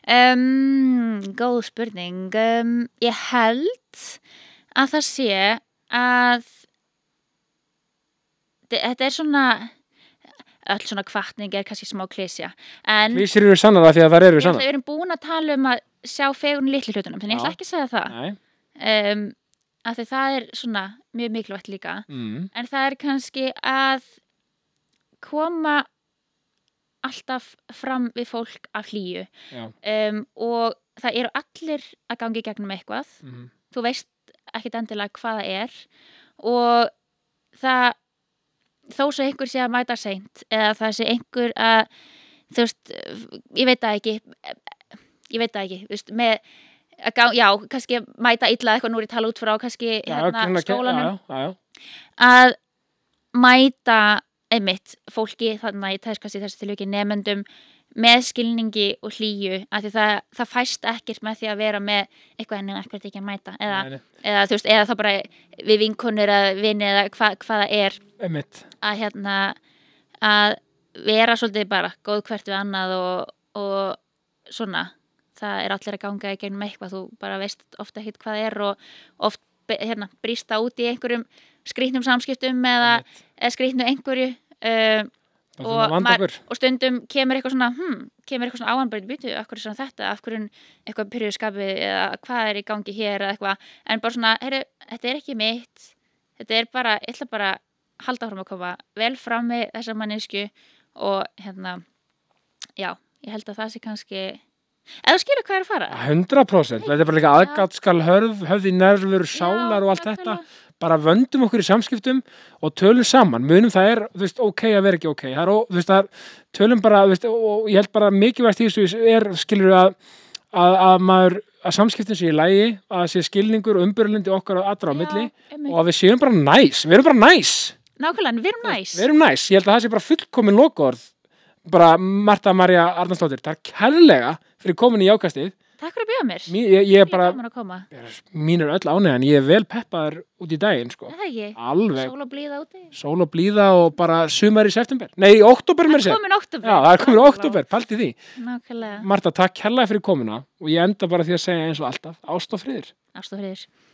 um, góð spurning um, ég held að það sé að þetta er svona öll svona kvartning er kannski smá klísja en Lýsir eru sannar af því að það eru Mm. Ég ætla, sannar. við erum búin að tala um að sjá fegurinn í litlu hlutunum, þannig ég ætla Já. ekki að segja það Nei. um, af því það er svona mjög mikilvægt líka Mm. en það er kannski að koma alltaf fram við fólk af hlýju Já. um, og það eru allir að gangi gegnum eitthvað Mm. þú veist ekkit endilega hvað það er og það þó svo einhver sé að mæta seint eða það sé einhver að þú veist, ég veit það ekki ég veit það ekki, þú veist, með að gá, já, kannski að mæta illa eitthvað nú er ég að tala út frá, kannski Já, hérna greinlega- skólanum já, já, já, að mæta einmitt fólki þannig að ég tæskast í þessu tilviki nefnendum með skilningi og hlýju af því það, það fæst ekkert með því að vera með eitthvað ennum ekkert ekki að mæta eða, Nei, nei. eða þú veist, eða þá bara við vinkonur að vinni eða hva, hvað það er Einmitt. að hérna að vera svolítið bara góð hvert við annað og, og svona það er allir að ganga í gegnum eitthvað þú bara veist ofta ekkert hvað það er og oft be- hérna, brýsta út í einhverjum skrýtnum samskiptum eða, Einmitt. eða skrýtnu einhverju um, Þá þurfum við að vanda maður- okkur. og stundum kemur eitthvað svona hmm, kemur eitthvað svona áanbært býtu, af hverju er svona þetta af hverju er eitthvað pyrrjuskapið eða hvað er í gangi hér eða eitthvað, en bara svona, heyru, þetta er ekki mitt þetta þetta er bara, ég ætla bara að halda fram að koma vel fram með þessa mannesku og hérna já, ég held að það sé kannski eða þú skilur hvað ég er að Ah, fara 100% þetta er bara líka aðgátt skal hörð höfði nervur, sálar og allt þetta bara vöndum okkur í samskiptum og tölum saman, munum það er þú veist, ok að vera ekki ok það er, ó- þú veist, það er, tölum bara, þú veist, og og ég held bara mikilvægt í þessu er, skilur við að, að, að maður, að samskiptin sé í lægi að sé skilningur og umbyrlindi okkar á allra á milli og að við séum bara næs við erum bara næs, nákvæmlega, við erum næs við erum næs ég held að það sé bara fullkomin lokaorð bara Marta Marja Arnarsdóttir takk kærlega fyrir komin í jákastið takk fyrir að bjóða mér, Mín, ég, ég er ég er bara, gaman að koma mín er öll ánægðan ég er vel peppaður út í daginn sko. er það ekki, alveg Mm. sól og blíða úti sól og blíða og bara sumar í september nei, í oktober mér sér já, komin oktober það er komin oktober, paldi því nákvæmlega, Marta, takk kærlega fyrir komuna og ég enda bara því að segja eins og alltaf ást og friður ástofriður